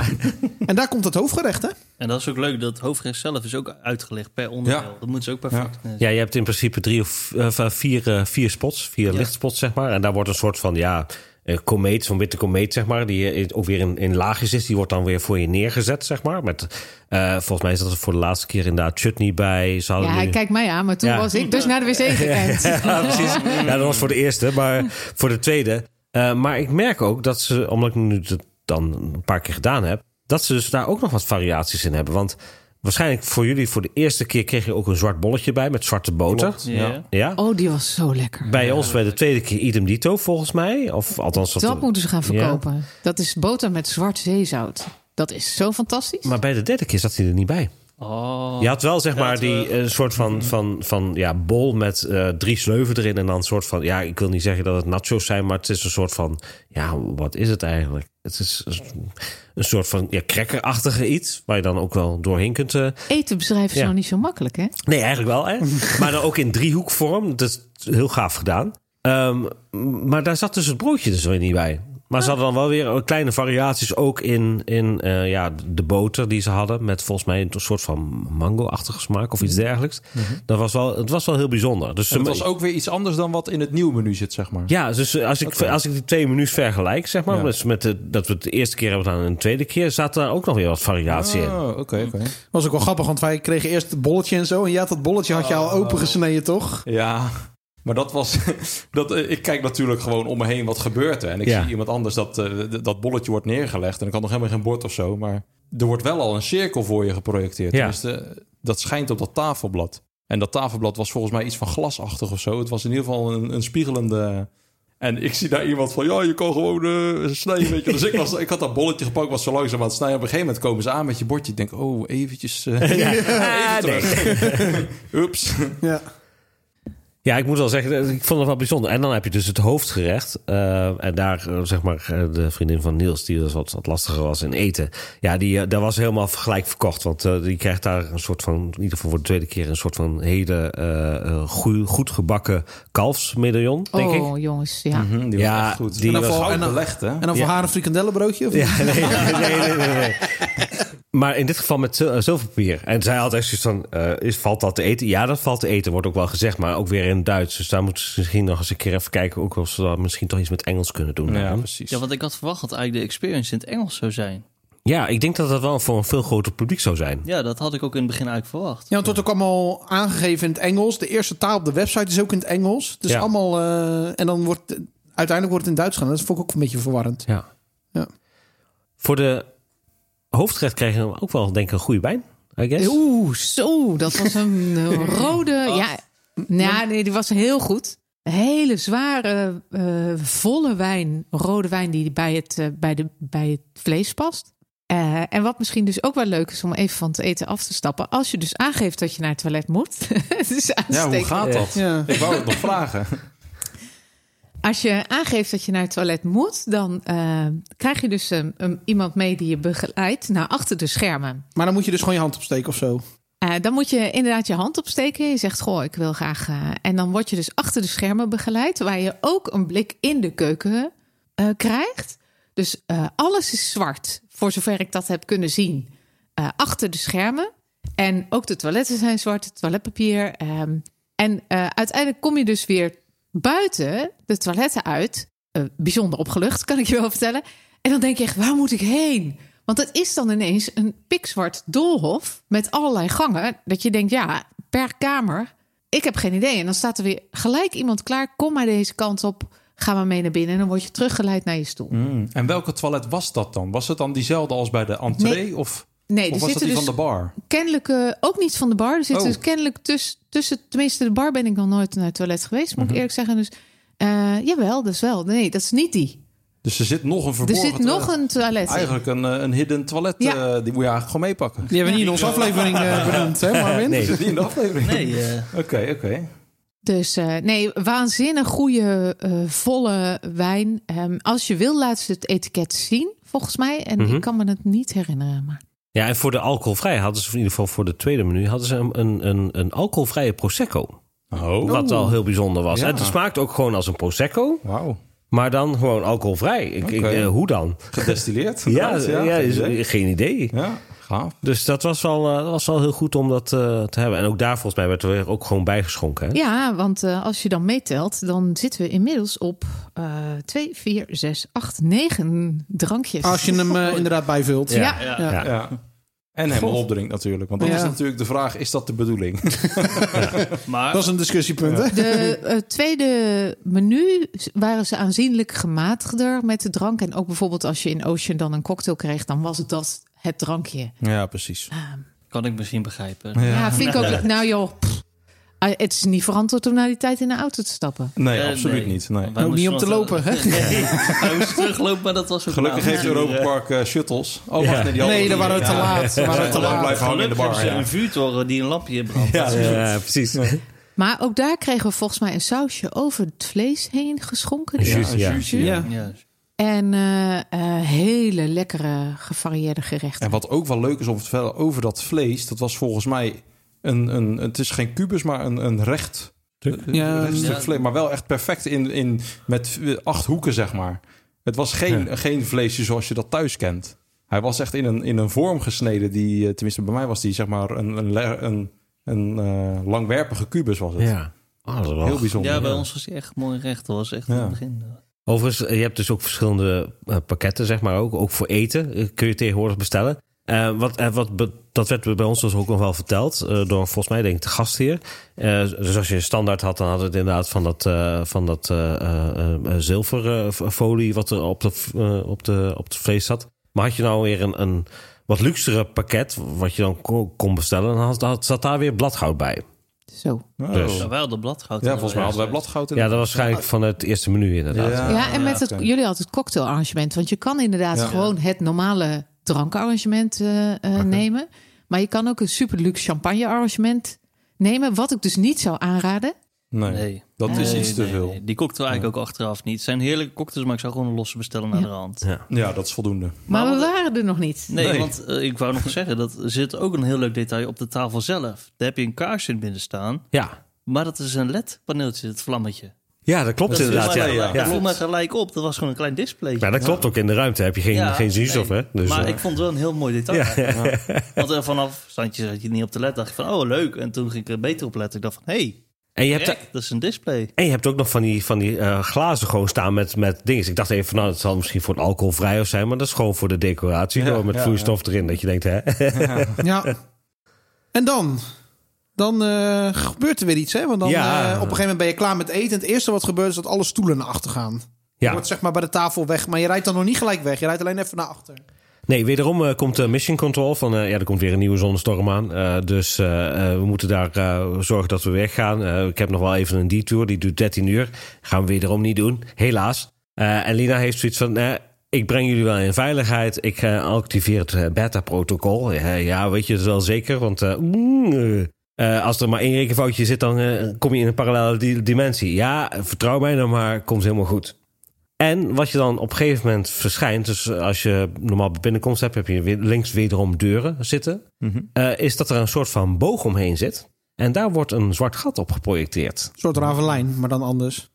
S1: en daar komt het hoofdgerecht, hè?
S5: En dat is ook leuk, dat hoofdgerecht zelf is ook uitgelegd per onderdeel.
S4: Ja.
S5: Dat moeten ze ook perfect. eh,
S2: ja, je hebt in principe drie of eh, vier, eh, vier spots, vier
S5: Ja.
S2: lichtspots, zeg maar. En daar wordt een soort van, ja, eh, komeet, zo'n witte komeet, zeg maar. Die eh, ook weer in, in laagjes is. Die wordt dan weer voor je neergezet, zeg maar. Met, eh, volgens mij is dat er voor de laatste keer inderdaad chutney bij. Ze hadden
S3: Ja,
S2: nu-
S3: hij kijkt mij aan, maar toen
S2: Oh, Ja.
S3: was ik dus naar de wc gekend.
S2: Ja, precies. [laughs] Ja, dat was voor de eerste, maar voor de tweede. Eh, maar ik merk ook dat ze, omdat ik nu het dan een paar keer gedaan heb, dat ze dus daar ook nog wat variaties in hebben. Want waarschijnlijk voor jullie voor de eerste keer kreeg je ook een zwart bolletje bij met zwarte boter.
S4: Klopt,
S5: Ja.
S4: ja.
S2: Ja.
S3: Oh, die was zo lekker.
S2: Bij ons bij de tweede keer idem dito, volgens mij. Of althans, dat-
S3: Dat moeten ze gaan
S2: Ja.
S3: verkopen. Dat is boter met zwart zeezout. Dat is zo fantastisch.
S2: Maar bij de derde keer zat hij er niet bij.
S5: Oh.
S2: Je had wel zeg
S5: Ja,
S2: maar
S5: het,
S2: die
S5: eh,
S2: eh, soort van, van, van ja, bol met eh, drie sleuven erin. En dan een soort van, ja, ik wil niet zeggen dat het nachos zijn, maar het is een soort van, ja, wat is het eigenlijk? Het is een- een soort van ja, crackerachtige iets, waar je dan ook wel doorheen kunt. eh,
S3: Eten beschrijven is
S2: Ja.
S3: nou niet zo makkelijk, hè?
S2: Nee, eigenlijk wel, hè?
S4: [laughs]
S2: maar dan ook in driehoekvorm. Dat is heel gaaf gedaan. Ehm, maar daar zat dus het broodje dus weer niet bij. Maar ze hadden dan wel weer kleine variaties ook in, in eh, ja, de boter die ze hadden. Met volgens mij een soort van mango-achtige smaak of iets dergelijks. Dat was wel, het was wel heel bijzonder. Dus
S4: Mhm. En het
S2: ze-
S4: was ook weer iets anders dan wat in het nieuwe menu zit, zeg maar.
S2: ja, dus als ik, als ik die twee menus vergelijk, zeg maar.
S4: Ja.
S2: Dus met de, dat we het de eerste keer hebben gedaan en de tweede keer. zat daar ook nog weer wat variatie in. [laughs]
S4: Oh, oké, oké.
S1: was ook wel grappig, want wij kregen eerst het bolletje en zo. En ja, dat bolletje had je al opengesneden, toch?
S4: Ja, maar dat was... [laughs] Dat, eh, ik kijk natuurlijk gewoon om me heen wat gebeurt er. En ik
S2: Ja.
S4: zie iemand anders dat, eh, d- dat bolletje wordt neergelegd. En ik had nog helemaal geen bord of zo. Maar er wordt wel al een cirkel voor je geprojecteerd.
S2: Ja.
S4: Dus dat schijnt op dat tafelblad. En dat tafelblad was volgens mij iets van glasachtig of zo. Het was in ieder geval een, een spiegelende... En ik zie daar iemand van, ja, je kan gewoon eh, snijden. Weet je. Dus ik, was, ik had dat bolletje gepakt, was zo langzaam aan het snijden. Op een gegeven moment komen ze aan met je bordje. Ik denk, oh, eventjes... eh, [laughs]
S2: Ah, nee.
S4: even terug. Oeps.
S1: Ja.
S2: Ja, ik moet wel zeggen, eh, ik vond het wel bijzonder. En dan heb je dus het hoofdgerecht. eh, en daar, eh, zeg maar, eh, de vriendin van Niels, die dus wat, wat lastiger was in eten. Ja, die, eh, daar was helemaal gelijk verkocht. Want eh, die krijgt daar een soort van, in ieder geval voor de tweede keer, een soort van hele eh, eh, goe- goed gebakken kalfsmedaillon, denk ik.
S3: oh, jongens, ja.
S4: Mhm, die
S2: Ja,
S4: was echt goed.
S2: Ah, die
S4: en
S2: was-
S4: was goud
S1: en dan-
S4: belegd, hè?
S1: En dan voor haar een frikandellenbroodje? Of
S2: Ja, nee, nee, nee, nee, nee. Maar in dit geval met zil- eh, zilverpapier. En zij had echt zoiets van, eh, is, valt dat te eten? Ja, dat valt te eten, wordt ook wel gezegd. Maar ook weer in het Duits. Dus daar moeten ze misschien nog eens een keer even kijken... ook of ze daar misschien toch iets met Engels kunnen doen.
S4: ja, precies.
S5: Ja, want ik had verwacht dat eigenlijk de experience in het Engels zou zijn.
S2: Ja, ik denk dat dat wel voor een veel groter publiek zou zijn.
S5: Ja, dat had ik ook in het begin eigenlijk verwacht.
S1: Ja, want het wordt ook allemaal aangegeven in het Engels. De eerste taal op de website is ook in het Engels. Dus
S2: Ja.
S1: allemaal... eh, en dan wordt... Uiteindelijk wordt het in Duits gedaan. Dat vond ik ook een beetje verwarrend.
S2: Ja.
S1: Ja.
S2: Voor de hoofdgerecht kregen we ook wel, denk ik, een goede wijn. I guess.
S4: Dus
S3: Oeh, zo, dat was een
S4: [laughs]
S3: eh,
S4: Ah.
S3: rode. Ja, nou, nee, die was heel goed. Een hele zware, eh, volle wijn, rode wijn die bij het, eh, bij de, bij het vlees past. Eh, en wat misschien dus ook wel leuk is om even van het eten af te stappen. Als je dus aangeeft dat je naar het toilet moet. [laughs] het is
S4: Ja, hoe
S3: aanstekelijk.
S4: gaat dat?
S1: Ja.
S4: Ik wou het nog vragen.
S3: Als je aangeeft dat je naar het toilet moet, dan eh, krijg je dus een- een- iemand mee die je begeleidt naar achter de schermen.
S1: Maar dan moet je dus gewoon je hand opsteken of zo.
S3: Eh, dan moet je inderdaad je hand opsteken. Je zegt, goh, ik wil graag... eh," en dan word je dus achter de schermen begeleid... waar je ook een blik in de keuken eh, krijgt. Dus eh, alles is zwart, voor zover ik dat heb kunnen zien. eh, achter de schermen. En ook de toiletten zijn zwart, het toiletpapier. ehm. en eh, uiteindelijk kom je dus weer buiten de toiletten uit. Eh, bijzonder opgelucht, kan ik je wel vertellen. En dan denk je echt, waar moet ik heen? Want het is dan ineens een pikzwart doolhof met allerlei gangen. Dat je denkt, ja, per kamer ik heb geen idee. En dan staat er weer gelijk iemand klaar. Kom maar deze kant op. Ga maar mee naar binnen. En dan word je teruggeleid naar je stoel.
S4: [laughs] En welke toilet was dat dan? Was het dan diezelfde als bij de entree?
S3: Nee.
S4: Of,
S3: Nee,
S4: of
S3: er
S4: was dat
S3: zitten
S4: die
S3: dus
S4: van de bar?
S3: kennelijk eh, ook niet van de bar. Er zit
S4: Oh.
S3: dus kennelijk tussen, tussen, tenminste de bar ben ik nog nooit naar het toilet geweest,
S4: Mhm.
S3: moet ik eerlijk zeggen. Dus eh, jawel, dus wel. Nee, dat is niet die.
S4: Dus er zit nog een verborgen
S3: er zit nog
S4: toilet.
S3: een toilet. in.
S4: eh, Eigenlijk een, eh, een hidden toilet.
S3: Ja.
S4: eh, die moet je eigenlijk gewoon meepakken.
S1: Die hebben we niet in onze aflevering eh, benoemd, hè Marvin?
S2: Nee.
S4: Is het niet in de aflevering?
S5: Nee,
S1: [laughs]
S5: eh,
S4: Oké, [laughs] oké.
S3: Dus eh, nee, waanzinnig goede eh, volle wijn. Ehm, als je wil, laat ze het etiket zien, volgens mij. En
S2: Mhm.
S3: ik kan me het niet herinneren. Maar
S2: Ja, en voor de alcoholvrij hadden ze in ieder geval voor de tweede menu hadden ze een, een, een, een alcoholvrije prosecco.
S4: Oh,
S2: Wat al heel bijzonder was.
S4: Ja.
S2: En het smaakt ook gewoon als een prosecco,
S4: wauw.
S2: maar dan gewoon alcoholvrij. Ik, ik,
S4: Oké.
S2: eh, hoe dan?
S4: Gedestilleerd?
S2: Ja,
S4: inderdaad,
S2: ja,
S4: Geen
S2: is-
S4: idee.
S2: geen idee.
S4: ja, gaaf.
S2: Dus dat was wel, eh, dat was wel heel goed om dat eh, te hebben. En ook daar volgens mij werd er weer ook gewoon bijgeschonken. Hè?
S3: ja, want eh, als je dan meetelt, dan zitten we inmiddels op eh 2, 4, 6, 8, 9 drankjes.
S1: Als je hem eh, inderdaad bijvult.
S3: ja.
S2: Ja.
S5: ja.
S1: Ja.
S4: Ja. En helemaal opdrinkt natuurlijk. Want dat
S1: Ja.
S4: is natuurlijk de vraag, is dat de bedoeling?
S5: maar
S1: Dat is een discussiepunt, hè?
S3: De eh, tweede menu waren ze aanzienlijk gematigder met de drank. En ook bijvoorbeeld als je in Ocean dan een cocktail kreeg, dan was dat het drankje.
S4: ja, precies.
S5: kan ik misschien begrijpen.
S3: Ja, vind ik ook. Nou joh, pff. Ah, het is niet verantwoord om na die tijd in de auto te stappen.
S4: Nee,
S5: Eh,
S4: absoluut niet. Nee.
S5: Wij
S1: Ook niet
S5: moesten
S1: om te
S5: nog-
S1: lopen,
S5: [laughs]
S1: hè?
S5: Nee, hij moest teruglopen, maar dat was ook
S4: Gelukkig
S5: na-
S4: heeft Europa Park eh, shuttles. Oh, wacht,
S2: Ja.
S4: nee, die hadden
S1: Nee,
S4: we
S1: daar waren we te
S4: niet.
S1: laat. Daar waren we te
S4: Te lang
S1: laat.
S4: blijven hangen in de
S5: Gelukkig
S4: bar.
S5: hebben ze
S4: Ja.
S5: een vuurtoren die een lampje brandt.
S4: Ja.
S5: Dat is-
S2: Ja, precies.
S3: Maar ook daar kregen we volgens mij een sausje over het vlees heen geschonken.
S2: Ja.
S4: een
S2: Ja.
S4: juice,
S1: Ja.
S5: Ja.
S3: En eh, eh, hele lekkere gevarieerde gerechten.
S4: En wat ook wel leuk is om te vertellen over dat vlees, dat was volgens mij een, een het is geen kubus, maar een, een recht, eh,
S1: Ja,
S4: recht stuk
S5: ja.
S4: vlees, maar wel echt perfect in, in met acht hoeken zeg maar. Het was geen, geen vleesje zoals je dat thuis kent. Hij was echt in een, in een vorm gesneden die, eh, tenminste bij mij was die zeg maar een, een, le- een, een eh, langwerpige kubus was het.
S2: Ja. Oh, dat is wel-
S4: Heel bijzonder.
S5: ja, bij ons was hij echt mooi recht. Dat was echt
S4: Ja.
S5: in het begin.
S2: Overigens, eh, je hebt dus ook verschillende eh, pakketten, zeg maar ook. Ook voor eten eh, kun je tegenwoordig bestellen. Eh, wat, eh, wat be- dat werd bij ons dus ook nog wel verteld eh, door volgens mij denk ik de gastheer. Eh, dus als je een standaard had, dan had het inderdaad van dat, eh, van dat eh, eh, eh, zilverfolie wat er op, de, v- eh, op, de, op het vlees zat. Maar had je nou weer een, een wat luxere pakket, wat je dan kon, kon bestellen, dan had, had- zat daar weer bladgoud bij.
S3: Zo.
S4: Oh.
S2: Dus.
S5: Ja, wij hadden bladgout.
S4: Ja, volgens mij hadden wij bladgout in.
S2: Ja, dat was waarschijnlijk van het eerste menu inderdaad.
S4: Ja.
S3: ja, en met het,
S4: oké.
S3: jullie hadden het cocktailarrangement. Want je kan inderdaad
S4: Ja.
S3: gewoon het normale drankarrangement eh, eh, nemen. Maar je kan ook een super luxe champagne arrangement nemen. Wat ik dus niet zou aanraden.
S4: Nee,
S5: Nee.
S4: dat is
S5: Nee,
S4: iets te
S5: nee,
S4: veel.
S5: nee. Die cocktail eigenlijk ook achteraf niet. Het zijn heerlijke cocktails, maar ik zou gewoon een losse bestellen aan de hand.
S4: Ja, dat is voldoende.
S3: Maar,
S5: Maar
S3: we
S5: wat-
S3: waren er nog niet.
S5: Nee,
S4: Nee.
S5: want eh, ik wou nog [laughs] zeggen, dat zit ook een heel leuk detail op de tafel zelf. Daar heb je een kaars in binnen staan,
S2: ja.
S5: maar dat is een LED-paneeltje, het vlammetje.
S2: Ja, dat klopt
S5: viel
S2: inderdaad.
S5: mij
S2: Ja.
S5: gelijk-
S2: Ja.
S5: Dat viel mij gelijk op, dat was gewoon een klein display.
S2: Nou, dat klopt ook. In de ruimte heb je geen,
S5: Ja,
S2: geen zuurstof,
S5: nee.
S2: hè? Dus,
S5: maar
S2: eh,
S5: ik vond het wel een heel mooi detail. eigenlijk.
S2: [laughs]
S5: Want er vanaf standje zat je niet op te letten. Dacht ik van, oh leuk. En toen ging ik er beter op letten. Ik dacht van, hey,
S2: en, je hebt,
S5: kijk, dat is een
S2: [laughs]
S5: display.
S2: en je hebt ook nog van die, van die eh, glazen gewoon staan met, met dingen. Ik dacht even, van, nou, dat zal misschien voor het alcoholvrij of zijn, maar dat is gewoon voor de decoratie.
S4: Ja,
S2: gewoon met
S4: ja,
S2: vloeistof erin. Dat je denkt, hè? [laughs]
S1: Ja. En dan? Dan eh, gebeurt er weer iets, hè? Want dan
S2: Ja.
S1: eh, op een gegeven moment ben je klaar met eten. En het eerste wat gebeurt is dat alle stoelen naar achter gaan. Je
S2: ja.
S1: wordt zeg maar bij de tafel weg, maar je rijdt dan nog niet gelijk weg. Je rijdt alleen even naar achter.
S2: Nee, wederom eh, komt eh, Mission Control van, eh, ja, er komt weer een nieuwe zonnestorm aan. Eh, dus eh, eh, we moeten daar eh, zorgen dat we weggaan. Eh, ik heb nog wel even een detour, die duurt 13 uur. Gaan we wederom niet doen, helaas. Eh, en Lina heeft zoiets van, eh, ik breng jullie wel in veiligheid. Ik eh, activeer het eh, beta-protocol. Ja, ja, weet je het wel zeker, want... eh, mm, eh. Eh, als er maar één rekenfoutje zit, dan eh, kom je in een parallele di- dimensie. Ja, vertrouw mij dan maar, komt helemaal goed. En wat je dan op een gegeven moment verschijnt, dus als je normaal bij binnenkomst hebt, heb je weer- links wederom deuren zitten,
S4: Mhm.
S2: eh, is dat er een soort van boog omheen zit. En daar wordt een zwart gat op
S4: [laughs]
S2: geprojecteerd.
S1: Een soort ravelijn, maar dan anders.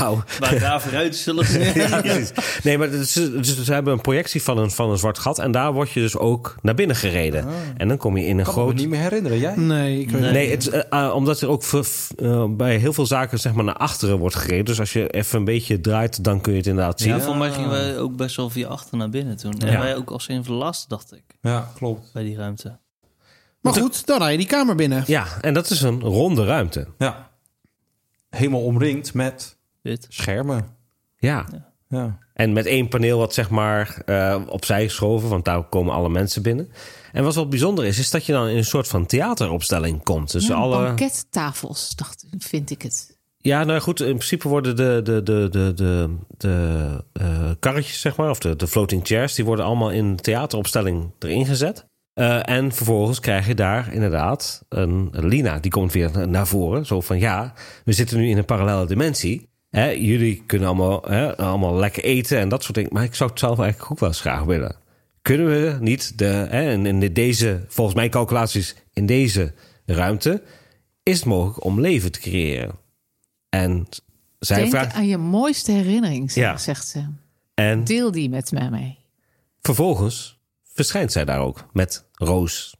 S2: Nou,
S5: [laughs] Waar daar vooruit zullen we
S2: [laughs] ja, precies. Nee, maar het is- dus ze hebben een projectie van een, van een zwart gat en daar word je dus ook naar binnen gereden. En dan kom je in een
S4: Ah. Kan ik me
S2: groot... Hm.
S4: niet meer herinneren, jij?
S1: Nee, ik weet het
S2: Nee, het, eh, eh, omdat er ook ver- f- eh, bij heel veel zaken zeg maar, naar achteren wordt gereden. Dus als je even een beetje draait, dan kun je het inderdaad zien.
S5: Ja, voor mij gingen wij ook best wel via achter naar binnen toen. En
S2: Ja.
S5: wij ook als een van de laatste, dacht ik,
S4: Ja, klopt.
S5: bij die ruimte.
S1: Maar goed, dan rij je die kamer binnen.
S2: Ja, en dat is een ronde ruimte.
S4: Ja. Helemaal omringd met
S5: Dit.
S4: schermen.
S2: Ja.
S4: Ja.
S2: En met één paneel wat zeg maar eh, opzij geschoven, want daar komen alle mensen binnen. En wat wel bijzonder is, is dat je dan in een soort van theateropstelling komt. Dus
S3: Ja,
S2: alle...
S3: Bankettafels, dacht, vind ik het.
S2: Ja, nou ja, goed, in principe worden de, de, de, de, de, de eh, karretjes, zeg maar, of de, de floating chairs, die worden allemaal in een theateropstelling erin gezet. Eh, en vervolgens krijg je daar inderdaad een Lina, die komt weer na- naar voren. Zo van ja, we zitten nu in een parallele dimensie. Hè, jullie kunnen allemaal, hè, allemaal lekker eten en dat soort dingen. Maar ik zou het zelf eigenlijk ook wel eens graag willen. Kunnen we niet de, hè, in, in deze, volgens mijn calculaties, in deze ruimte, is het mogelijk om leven te creëren? En zij
S3: Denk
S2: vraagt.
S3: aan je mooiste herinnering, zeg-
S2: Ja.
S3: zegt ze.
S2: En
S3: Deel die met mij mee.
S2: vervolgens verschijnt zij daar ook met Roos.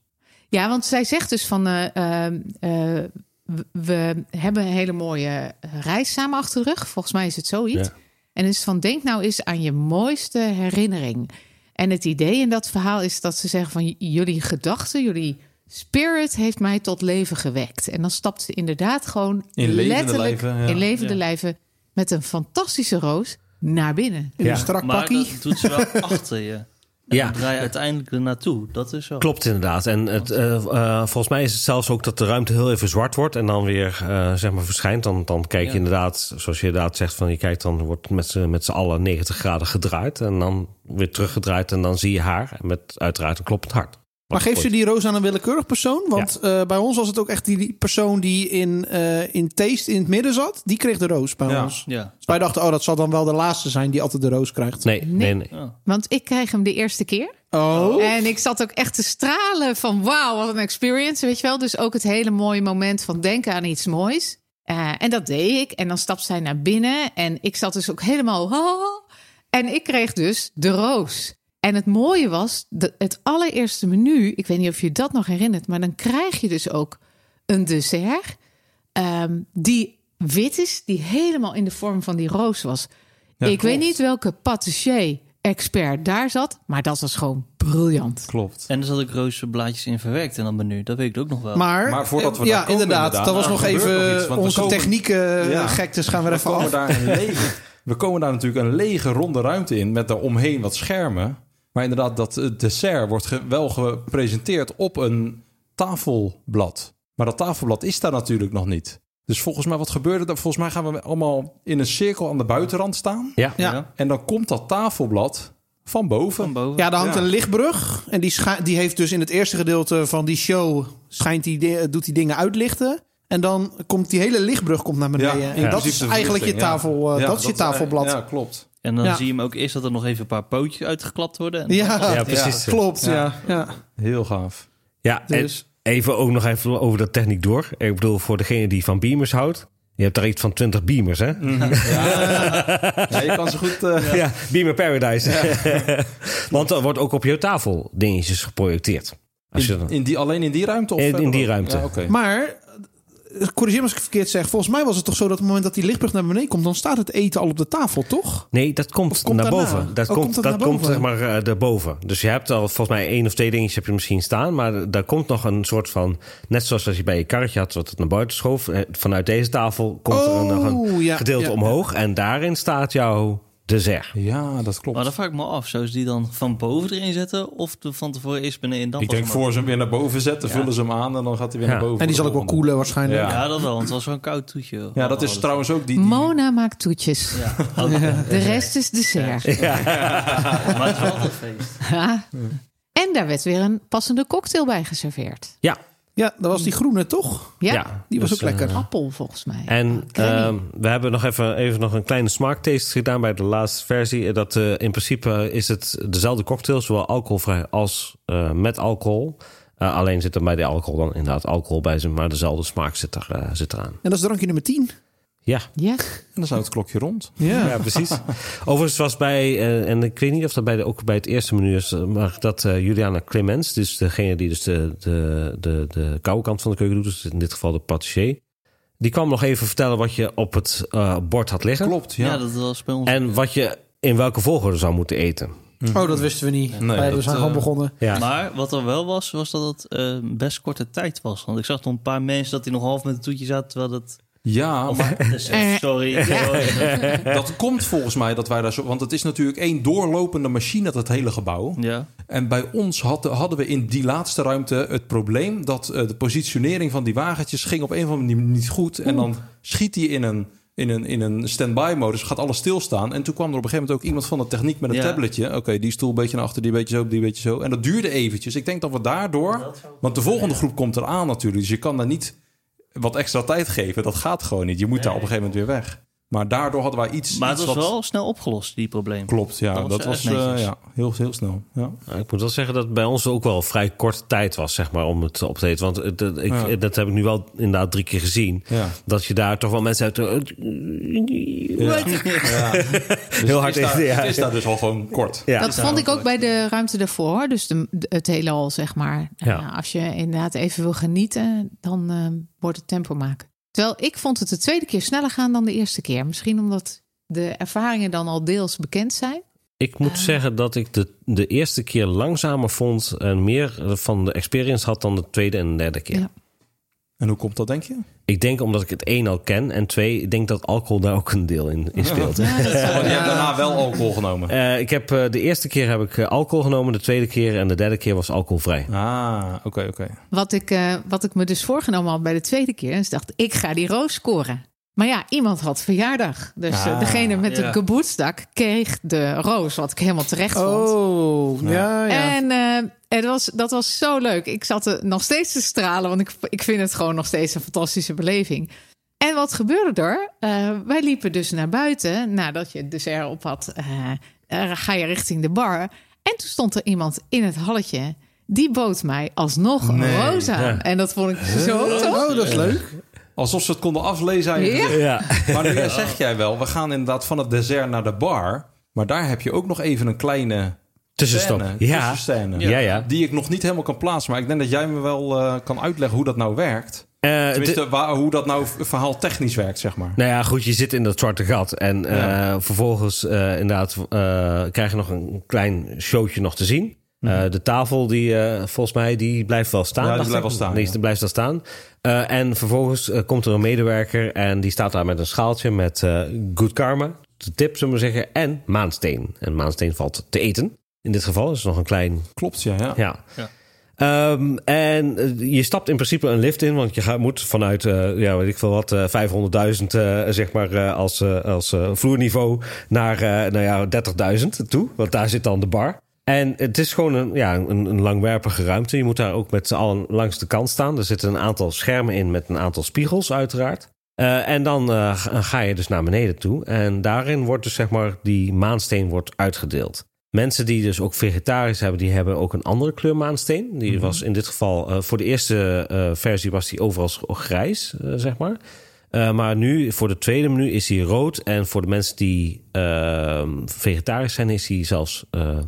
S3: Ja, want zij zegt dus van... eh, ehm, eh, w- we hebben een hele mooie eh, reis samen achter de rug. Volgens mij is het zoiets.
S2: Ja.
S3: En is van, denk nou eens aan je mooiste herinnering. En het idee in dat verhaal is dat ze zeggen van... j- jullie gedachten, jullie spirit heeft mij tot leven gewekt. En dan stapt ze inderdaad gewoon
S4: In levende
S3: letterlijk...
S4: lijven, ja.
S3: in levende
S5: Ja.
S3: lijven met een fantastische roos naar binnen.
S1: In
S2: Ja.
S1: een strak
S5: Maar
S1: pakkie.
S5: dat doet ze
S2: [laughs]
S5: wel achter je. En
S2: Ja.
S5: dan draai je uiteindelijk er naartoe. Dat is zo.
S2: Klopt inderdaad. En het, eh, eh, volgens mij is het zelfs ook dat de ruimte heel even zwart wordt en dan weer eh, zeg maar verschijnt. Dan, dan kijk je
S5: Ja.
S2: inderdaad, zoals je inderdaad zegt, van je kijkt dan wordt met z'n met z'n allen 90 graden gedraaid en dan weer teruggedraaid en dan zie je haar met uiteraard een kloppend hart.
S1: Maar geeft ze die roos aan een willekeurig persoon? Want eh, bij ons was het ook echt die- die persoon die in, eh, in Taste in het midden zat. Die kreeg de roos bij
S4: Ja.
S1: ons.
S5: Ja.
S1: Dus wij dachten, oh, dat zal dan wel de laatste zijn die altijd de roos krijgt.
S2: Nee, nee, nee.
S5: ja.
S3: Want ik krijg hem de eerste keer.
S1: Oh,
S3: En ik zat ook echt te stralen van wauw, wat een experience, weet je wel. Dus ook het hele mooie moment van denken aan iets moois. Eh, en dat deed ik. En dan stapt zij naar binnen en ik zat dus ook helemaal... "Oh." En ik kreeg dus de roos. En het mooie was, de, het allereerste menu... Ik weet niet of je dat nog herinnert, maar dan krijg je dus ook een dessert... ehm, die wit is, die helemaal in de vorm van die roos was. ik weet niet welke patissier-expert daar zat, maar dat was gewoon briljant.
S4: Klopt.
S5: En er zat ook rozenblaadjes in verwerkt en dan menu. Dat weet ik ook nog wel.
S1: maar,
S4: Maar voordat we
S1: ja,
S4: daar komen
S1: inderdaad,
S4: inderdaad,
S1: dat was
S4: nou,
S1: nog
S4: er gebeurt
S1: even
S4: nog iets, want we
S1: onze
S4: komen-
S1: technieken
S4: Ja.
S1: gektes dus gaan we er
S4: We
S1: even
S4: komen,
S1: af.
S4: daar
S1: [laughs]
S4: een lege, we komen daar natuurlijk een lege ronde ruimte in met daaromheen wat schermen. Maar inderdaad, dat eh, dessert wordt ge- wel gepresenteerd op een tafelblad. Maar dat tafelblad is daar natuurlijk nog niet. Dus volgens mij, wat gebeurde er? Volgens mij gaan we allemaal in een cirkel aan de buitenrand staan.
S2: Ja.
S1: Ja.
S4: En dan komt dat tafelblad van
S5: Van
S4: boven.
S5: boven.
S1: Ja, daar hangt
S4: Ja.
S1: een lichtbrug. En die, scha- die heeft dus in het eerste gedeelte van die show... Schijnt die di- doet die dingen uitlichten. En dan komt die hele lichtbrug komt naar beneden. en
S4: Ja,
S1: dat
S4: inclusief
S1: is
S4: de
S1: eigenlijk je
S4: verlichting, ja.
S1: tafel... eh,
S4: Ja,
S1: dat is je tafelblad.
S4: Ja, klopt.
S5: En dan
S1: Ja.
S5: zie je hem ook eerst dat er nog even een paar pootjes uitgeklapt worden. En
S1: Ja,
S2: Ja, precies.
S1: klopt. Ja. Ja.
S4: Heel gaaf.
S2: Ja,
S1: Dus-
S2: en even ook nog even over dat techniek door. Ik bedoel, voor degene die van beamers houdt. Je hebt daar iets van 20 beamers, hè?
S4: Ja, je kan ze goed... eh,
S2: Ja, Beamer Paradise. [laughs] Want er wordt ook op je tafel dingetjes geprojecteerd. Als je
S4: in,
S2: dan-
S4: in die, alleen in die ruimte? Of
S2: In- in
S4: verder
S2: die
S4: ook?
S2: ruimte.
S4: Ja, oké.
S1: Maar, eh, corrigeer me als ik het verkeerd zeg. Volgens mij was het toch zo dat op het moment dat die lichtbrug naar beneden komt... dan staat het eten al op de tafel, toch?
S2: Nee, dat komt,
S1: komt
S2: naar
S1: daarna?
S2: boven. Dat
S1: Oh,
S2: komt,
S1: komt dat
S2: dat
S1: naar
S2: komt
S1: boven?
S2: zeg maar eh, daarboven. Dus je hebt al volgens mij één of twee dingetjes heb je misschien staan. Maar daar komt nog een soort van... Net zoals als je bij je karretje had wat het naar buiten schoof. eh, Vanuit deze tafel komt er nog een
S1: Oh, ja,
S2: gedeelte
S1: ja.
S2: omhoog. En daarin staat jouw dessert.
S4: Ja, dat klopt.
S5: Maar dan vraag ik me af, zou ze die dan van boven erin zetten? Of de van tevoren eerst beneden en dan
S4: Ik
S5: pas
S4: denk
S5: omhoog?
S4: voor ze hem weer naar boven zetten, vullen ze hem aan en dan gaat hij weer
S2: Ja.
S4: naar boven.
S1: En die zal ook wel koelen waarschijnlijk.
S4: Ja.
S5: Ja, dat wel, want het was wel een koud toetje. hoor.
S4: Ja, dat is trouwens ook die. die-
S3: Mona maakt toetjes.
S5: Ja,
S3: De rest is dessert.
S5: maar het is wel altijd feest.
S3: Ja. En daar werd weer een passende cocktail bij geserveerd.
S2: Ja,
S1: Ja, dat was die groene, toch?
S3: Ja,
S1: Die was
S2: Dus,
S1: ook lekker.
S2: eh,
S3: appel volgens mij.
S2: En
S3: Crème.
S2: ehm, we hebben nog even, even nog een kleine smaaktaste gedaan bij de laatste versie. Dat eh, in principe is het dezelfde cocktail, zowel alcoholvrij als eh, met alcohol. Eh, alleen zit er bij de alcohol dan inderdaad alcohol bij, ze, maar dezelfde smaak zit, er, eh, zit eraan.
S1: En dat is drankje nummer 10.
S2: Ja.
S3: ja.
S4: En dan zou het klokje rond.
S1: Ja.
S2: Ja, precies. [laughs] Overigens was bij, eh, en ik weet niet of dat bij de, ook bij het eerste menu is, eh, maar dat eh, Juliana Clemens, dus degene die dus de, de, de, de koude kant van de keuken doet, dus in dit geval de patissier, die kwam nog even vertellen wat je op het eh, bord had liggen.
S4: Klopt, [laughs] ja.
S5: Ja, dat was bij ons.
S2: En wat je in welke volgorde zou moeten eten.
S1: Oh, dat wisten we niet.
S4: Nee,
S1: Wij
S4: dat,
S1: we zijn
S4: eh,
S1: gewoon begonnen.
S2: Ja.
S5: Maar wat er wel was, was dat het eh, best korte tijd was. Want ik zag nog een paar mensen dat die nog half met een toetje zaten, terwijl dat...
S4: Ja,
S5: Of,
S4: Oh, maar
S5: dus, eh,
S4: [laughs]
S5: sorry. sorry.
S4: dat komt volgens mij dat wij daar zo... Want het is natuurlijk één doorlopende machine, dat hele gebouw.
S5: Ja.
S4: En bij ons hadden, hadden we in die laatste ruimte het probleem dat eh, de positionering van die wagentjes ging op een of andere manier niet goed. En dan schiet hij in een, in een, in een stand-by modus, gaat alles stilstaan. En toen kwam er op een gegeven moment ook iemand van de techniek met een
S5: Ja.
S4: tabletje. Oké, die stoel een beetje naar achter, die een beetje zo, die een beetje zo. En dat duurde eventjes. Ik denk dat we daardoor, want de volgende groep komt eraan natuurlijk. Dus je kan daar niet wat extra tijd geven. Dat gaat gewoon niet. Je moet daar op een gegeven moment weer weg. Maar daardoor hadden wij iets,
S5: Maar het
S4: iets
S5: was
S4: wat
S5: wel snel opgelost, die probleem.
S4: klopt. Ja,
S5: Dat was
S4: dat was
S5: echt netjes.
S4: eh, ja, heel, heel snel. Ja.
S2: Nou, ik moet wel zeggen dat het bij ons ook wel vrij korte tijd was, zeg maar, om het op te eten. Want het- het- ik, eh,
S4: Ja.
S2: dat heb ik nu wel inderdaad drie keer gezien.
S4: Ja.
S2: Dat je daar toch wel mensen uit...
S4: Ja.
S2: Heel hard
S4: Het is, daar,
S2: ja.
S4: het is daar dus al gewoon kort.
S2: Ja.
S3: dat vond ik ook bij de ruimte daarvoor. hoor. Dus de, de- het hele al, zeg maar.
S2: Ja.
S3: Nou, als je inderdaad even wil genieten, dan eh, wordt het tempo maken. Terwijl ik vond het de tweede keer sneller gaan dan de eerste keer. Misschien omdat de ervaringen dan al deels bekend zijn.
S2: Ik moet zeggen dat ik de, de eerste keer langzamer vond... en meer van de experience had dan de tweede en de derde keer.
S3: Ja.
S4: En hoe komt dat, denk je?
S2: Ik denk omdat ik het één al ken... en twee, ik denk dat alcohol daar ook een deel in, in speelt.
S4: Want je hebt daarna wel alcohol genomen.
S2: Eh, ik heb, eh, de eerste keer heb ik eh, alcohol genomen, de tweede keer... en de derde keer was alcoholvrij.
S4: Ah, oké, oké.
S3: Wat ik, eh, wat ik me dus voorgenomen had bij de tweede keer. Is dacht, ik ga die roos scoren. Maar ja, iemand had verjaardag. Dus eh,
S4: Ah,
S3: degene met
S5: ja.
S3: de geboortsdag kreeg de roos. Wat ik helemaal terecht vond.
S1: Oh, ja, ja.
S3: En eh, het was, dat was zo leuk. Ik zat er nog steeds te stralen, want ik, ik vind het gewoon nog steeds een fantastische beleving. En wat gebeurde er? Eh, wij liepen dus naar buiten, nadat je het dessert op had, eh, eh, ga je richting de bar. En toen stond er iemand in het halletje, die bood mij alsnog een roos aan. En dat vond ik zo tof.
S1: Oh, dat is leuk.
S4: Alsof ze het konden aflezen. aan je
S3: Ja.
S4: gezicht.
S2: Ja.
S4: Maar nu zeg jij wel, we gaan inderdaad van het dessert naar de bar. Maar daar heb je ook nog even een kleine
S2: Tussenstop.
S4: scène,
S2: Ja.
S4: tussenscène,
S2: Ja, ja.
S4: Die ik nog niet helemaal kan plaatsen. Maar ik denk dat jij me wel eh, kan uitleggen hoe dat nou werkt.
S2: Eh, de-
S4: Tenminste, waar, hoe dat nou verhaal technisch werkt, zeg maar.
S2: Nou ja, goed, je zit in dat zwarte gat. En
S4: Ja.
S2: eh, vervolgens eh, inderdaad eh, krijg je nog een klein showtje nog te zien. Eh, de tafel, die eh, volgens mij, die blijft wel staan.
S4: Mhm. Ja, die
S2: dacht
S4: blijft
S2: ik.
S4: wel staan,
S2: Nee,
S4: ja.
S2: die blijft wel staan. Eh, en vervolgens eh, komt er een medewerker en die staat daar met een schaaltje met eh, good karma. De tip, zullen we zeggen. En maansteen. En maansteen valt te eten. In dit geval is het nog een klein
S4: Klopt, ja. ja.
S2: ja. Ehm, en eh, je stapt in principe een lift in, want je gaat, moet vanuit, eh, ja, weet ik veel wat, eh, 500.000, eh, zeg maar, eh, als, eh, als eh, vloerniveau naar, eh, nou ja, 30.000 toe. Want daar zit dan de bar. En het is gewoon een, ja, een, een langwerpige ruimte. Je moet daar ook met z'n allen langs de kant staan. Er zitten een aantal schermen in met een aantal spiegels, uiteraard. Eh, en dan eh, ga- ga je dus naar beneden toe. En daarin wordt dus, zeg maar, die maansteen wordt uitgedeeld. Mensen die dus ook vegetarisch hebben, die hebben ook een andere kleur maansteen.
S4: Mhm.
S2: Die was in dit geval, eh, voor de eerste eh, versie was die overal s- grijs, eh, zeg maar. Eh, maar nu, voor de tweede menu, is die rood. En voor de mensen die eh, vegetarisch zijn, is die zelfs eh,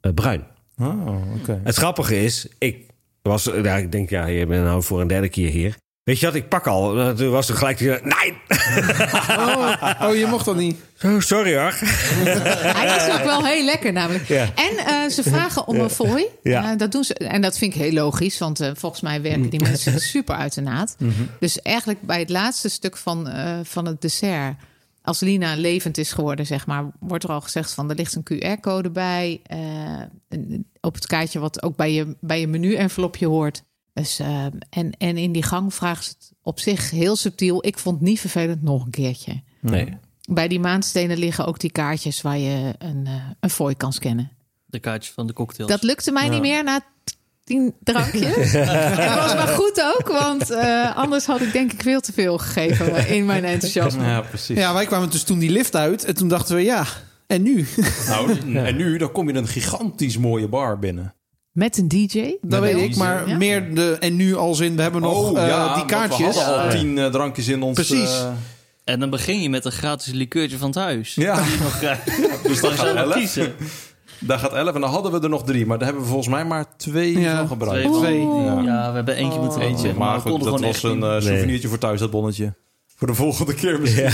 S2: eh, bruin.
S4: Oh, oké.
S2: Het grappige is, ik was, eh, ja, ik denk, ja, je bent nou voor een derde keer hier. Weet je wat, ik pak al. Eh, Toen was er gelijk, die, nee, [laughs]
S1: Oh, oh, je mocht dat niet.
S2: Oh, sorry hoor.
S3: [laughs] Hij is ook wel heel lekker namelijk.
S2: Ja.
S3: En eh, ze vragen om een fooi.
S2: Ja. Mm.
S3: Eh, dat doen ze, en dat vind ik heel logisch, want eh, volgens mij werken die
S2: [laughs]
S3: mensen super uit de naad.
S2: Mhm.
S3: Dus eigenlijk bij het laatste stuk van, eh, van het dessert, als Lina levend is geworden, zeg maar, wordt er al gezegd van er ligt een QR-code bij. eh, een- op het kaartje wat ook bij je, bij je menu-envelopje hoort. Dus, eh, en, en in die gang vragen ze het op zich heel subtiel. Ik vond het niet vervelend nog een keertje.
S2: Nee.
S3: Bij die maanstenen liggen ook die kaartjes waar je een, eh een fooi kan scannen.
S5: De kaartjes van de cocktails.
S3: Dat lukte mij niet meer na tien
S1: [laughs]
S3: drankjes. Het was maar goed ook, want eh, anders had ik denk ik veel te veel gegeven in mijn enthousiasme.
S4: Ja, precies.
S1: Ja, wij kwamen dus toen die lift uit. En toen dachten we, ja, en nu? [laughs]
S4: Nou, en nu, dan kom je een gigantisch mooie bar binnen.
S3: Met een DJ.
S1: Dat weet ik, maar
S3: Ja.
S1: meer de en nu als in... We hebben nog eh, die
S4: want
S1: kaartjes.
S4: Oh, We hadden al
S2: Ja.
S4: tien eh, drankjes in ons.
S1: Precies.
S4: eh,
S5: En dan begin je met een gratis likeurtje van het
S4: [laughs]
S5: huis.
S4: ja,
S5: Dus
S4: dat gaat helpen.
S5: kiezen.
S4: daar gaat elf. En dan hadden we er nog drie. Maar daar hebben we volgens mij maar twee
S1: Ja.
S4: van gebruikt.
S5: Twee.
S1: Twee.
S5: Ja. we hebben eentje moeten
S4: Eentje.
S5: afleggen,
S4: maar
S5: we
S4: goed,
S5: konden
S4: dat
S5: gewoon
S4: was
S5: echt
S4: een
S5: niet.
S4: eh, souvenirtje voor thuis, dat bonnetje. Voor de volgende keer misschien.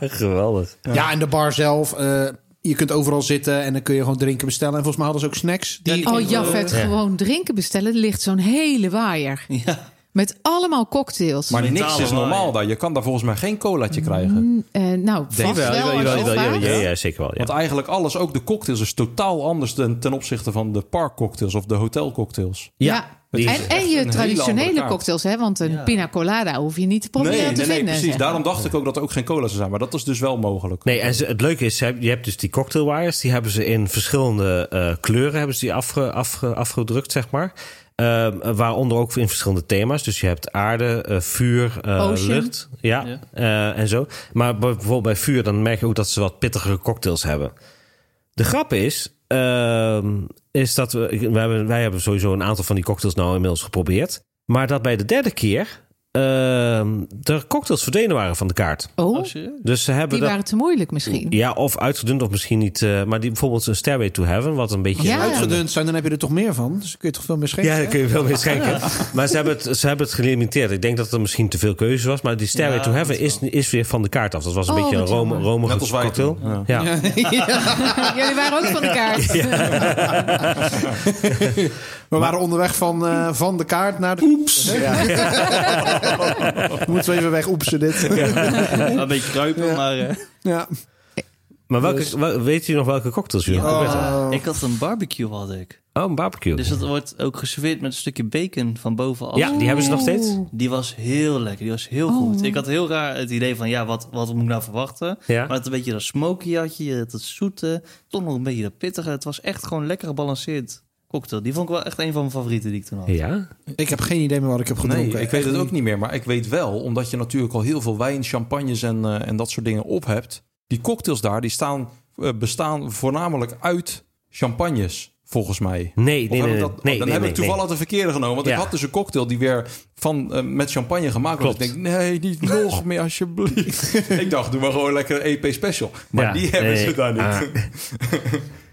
S2: Geweldig.
S1: Ja, en de bar zelf. eh, je kunt overal zitten en dan kun je gewoon drinken bestellen. En volgens mij hadden ze ook snacks. Die,
S3: Oh, Jafet,
S2: Ja.
S3: gewoon drinken bestellen. Er ligt zo'n hele waaier.
S5: Ja.
S3: Met allemaal cocktails.
S4: Maar niks
S5: Mentale
S4: is normaal
S5: laai.
S4: daar. Je kan daar volgens mij geen
S1: Mm.
S4: colaatje krijgen.
S3: Eh, nou, vast wel.
S2: Jawel, jawel,
S3: als je
S2: jawel, jawel,
S3: vraagt.
S2: ja, ja, zeker wel. Ja.
S4: Want eigenlijk alles, ook de cocktails, is totaal anders dan ten opzichte van de parkcocktails of de hotelcocktails.
S3: Ja.
S2: die is
S3: En, en je
S4: hele andere
S3: traditionele
S4: kaart.
S3: cocktails, hè? Want een
S5: Ja.
S3: pina colada hoef je niet te proberen
S4: nee,
S3: te
S4: nee, nee,
S3: vinden.
S4: precies.
S3: zeg.
S4: Daarom dacht ik ook dat er ook geen cola zou zijn. Maar dat is dus wel mogelijk.
S2: Nee, en ze- het leuke is, ze hebben- je hebt dus die cocktailwaaiers. Die hebben ze in verschillende eh, kleuren hebben ze die afge, afge- afgedrukt, zeg maar. Ehm, waaronder ook in verschillende thema's. Dus je hebt aarde, eh, vuur, eh,
S3: Ocean.
S2: lucht. Ja,
S5: Ja.
S2: eh, en zo. Maar bij- bijvoorbeeld bij vuur, dan merk je ook dat ze wat pittigere cocktails hebben. De grap is, ehm, is dat we, ik- wij, hebben, wij hebben sowieso een aantal van die cocktails nou inmiddels geprobeerd. Maar dat bij de derde keer ehm, de cocktails verdwenen waren van de kaart.
S3: Oh,
S5: Oh, serieus?
S2: Dus ze hebben
S3: die
S2: dat...
S3: waren te moeilijk misschien.
S2: Ja, of uitgedund of misschien niet. eh, maar die bijvoorbeeld een Stairway to Heaven, wat een beetje...
S3: Ja.
S2: een-
S1: Uitgedund zijn, dan heb je er toch meer van. Dus dan kun je toch veel meer schenken.
S2: Ja, daar kun je wel mee schenken. Maar ze hebben, het, ze hebben het gelimiteerd. Ik denk dat er misschien te veel keuze was. Maar die Stairway
S5: Ja,
S2: to Heaven
S5: dat
S2: is, is weer van de kaart af. Dat was een
S3: Oh,
S2: beetje een
S3: wat
S2: Rome,
S3: jammer.
S2: romige
S4: Net als wij
S2: cocktail.
S4: toen, ja.
S2: Ja.
S3: [laughs] Jullie waren ook van de kaart.
S1: We waren onderweg van, eh, van de kaart naar de... Oeps! Moeten [laughs] we even weg oepsen dit. Ja.
S5: Een beetje kruipen, maar... eh,
S2: Maar welke, wel- weet u nog welke cocktails jullie
S5: Ja.
S2: geprobeerd hebben?
S5: Ik had een barbecue, had ik.
S2: Oh, een barbecue.
S5: Dus dat wordt ook geserveerd met een stukje bacon van bovenaf.
S2: ja, die hebben ze nog steeds.
S3: Oeh.
S5: Die was heel lekker, die was heel goed. Ik had heel raar het idee van, ja, wat, wat moet ik nou verwachten?
S2: Ja.
S5: Maar het een beetje dat smoky had je, je had dat zoete, toch nog een beetje dat pittige. Het was echt gewoon lekker gebalanceerd cocktail. Die vond ik wel echt een van mijn favorieten die ik toen had.
S2: Ja.
S1: Ik heb geen idee meer wat ik heb gedronken.
S4: Nee, ik weet
S1: Echt
S4: het ook niet meer. Maar ik weet wel, omdat je natuurlijk al heel veel wijn, champagnes en, eh, en dat soort dingen op hebt. Die cocktails daar, die staan, eh, bestaan voornamelijk uit champagnes, volgens mij.
S2: Nee,
S4: Of
S2: nee,
S4: heb
S2: nee.
S4: ik
S2: nee,
S4: dat-
S2: nee,
S4: oh,
S2: nee,
S4: dan
S2: nee,
S4: heb
S2: nee.
S4: ik toevallig de verkeerde genomen. Want
S2: Ja.
S4: ik had dus een cocktail die weer van, eh, met champagne gemaakt was.
S2: Klopt.
S4: Ik denk, nee,
S2: [laughs]
S4: niet nog meer alsjeblieft. ik dacht, doe maar gewoon lekker een EP special. Maar
S2: Ja,
S4: die hebben
S2: nee,
S4: ze daar niet.
S2: ah.
S4: [laughs]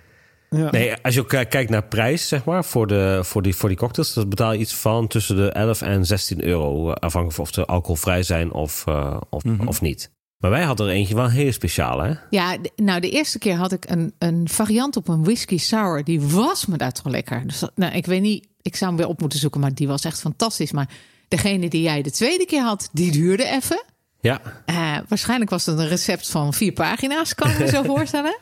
S1: Ja.
S2: Nee, als je ook eh, kijkt naar prijs, zeg maar, voor, de, voor, die, voor die cocktails, dan betaal je iets van tussen de 11 en 16 euro. eh, Afhankelijk van of ze alcoholvrij zijn of, eh, of,
S4: Mhm.
S2: of niet. Maar wij hadden er eentje wel heel speciaal, hè?
S3: Ja, d- nou, de eerste keer had ik een, een variant op een whisky sour. Die was me daar toch lekker. Dus dat- nou, ik weet niet, ik zou hem weer op moeten zoeken, maar die was echt fantastisch. Maar degene die jij de tweede keer had, die duurde even.
S2: Ja,
S3: Eh, waarschijnlijk was het een recept van vier pagina's, kan ik me
S2: [laughs]
S3: zo voorstellen.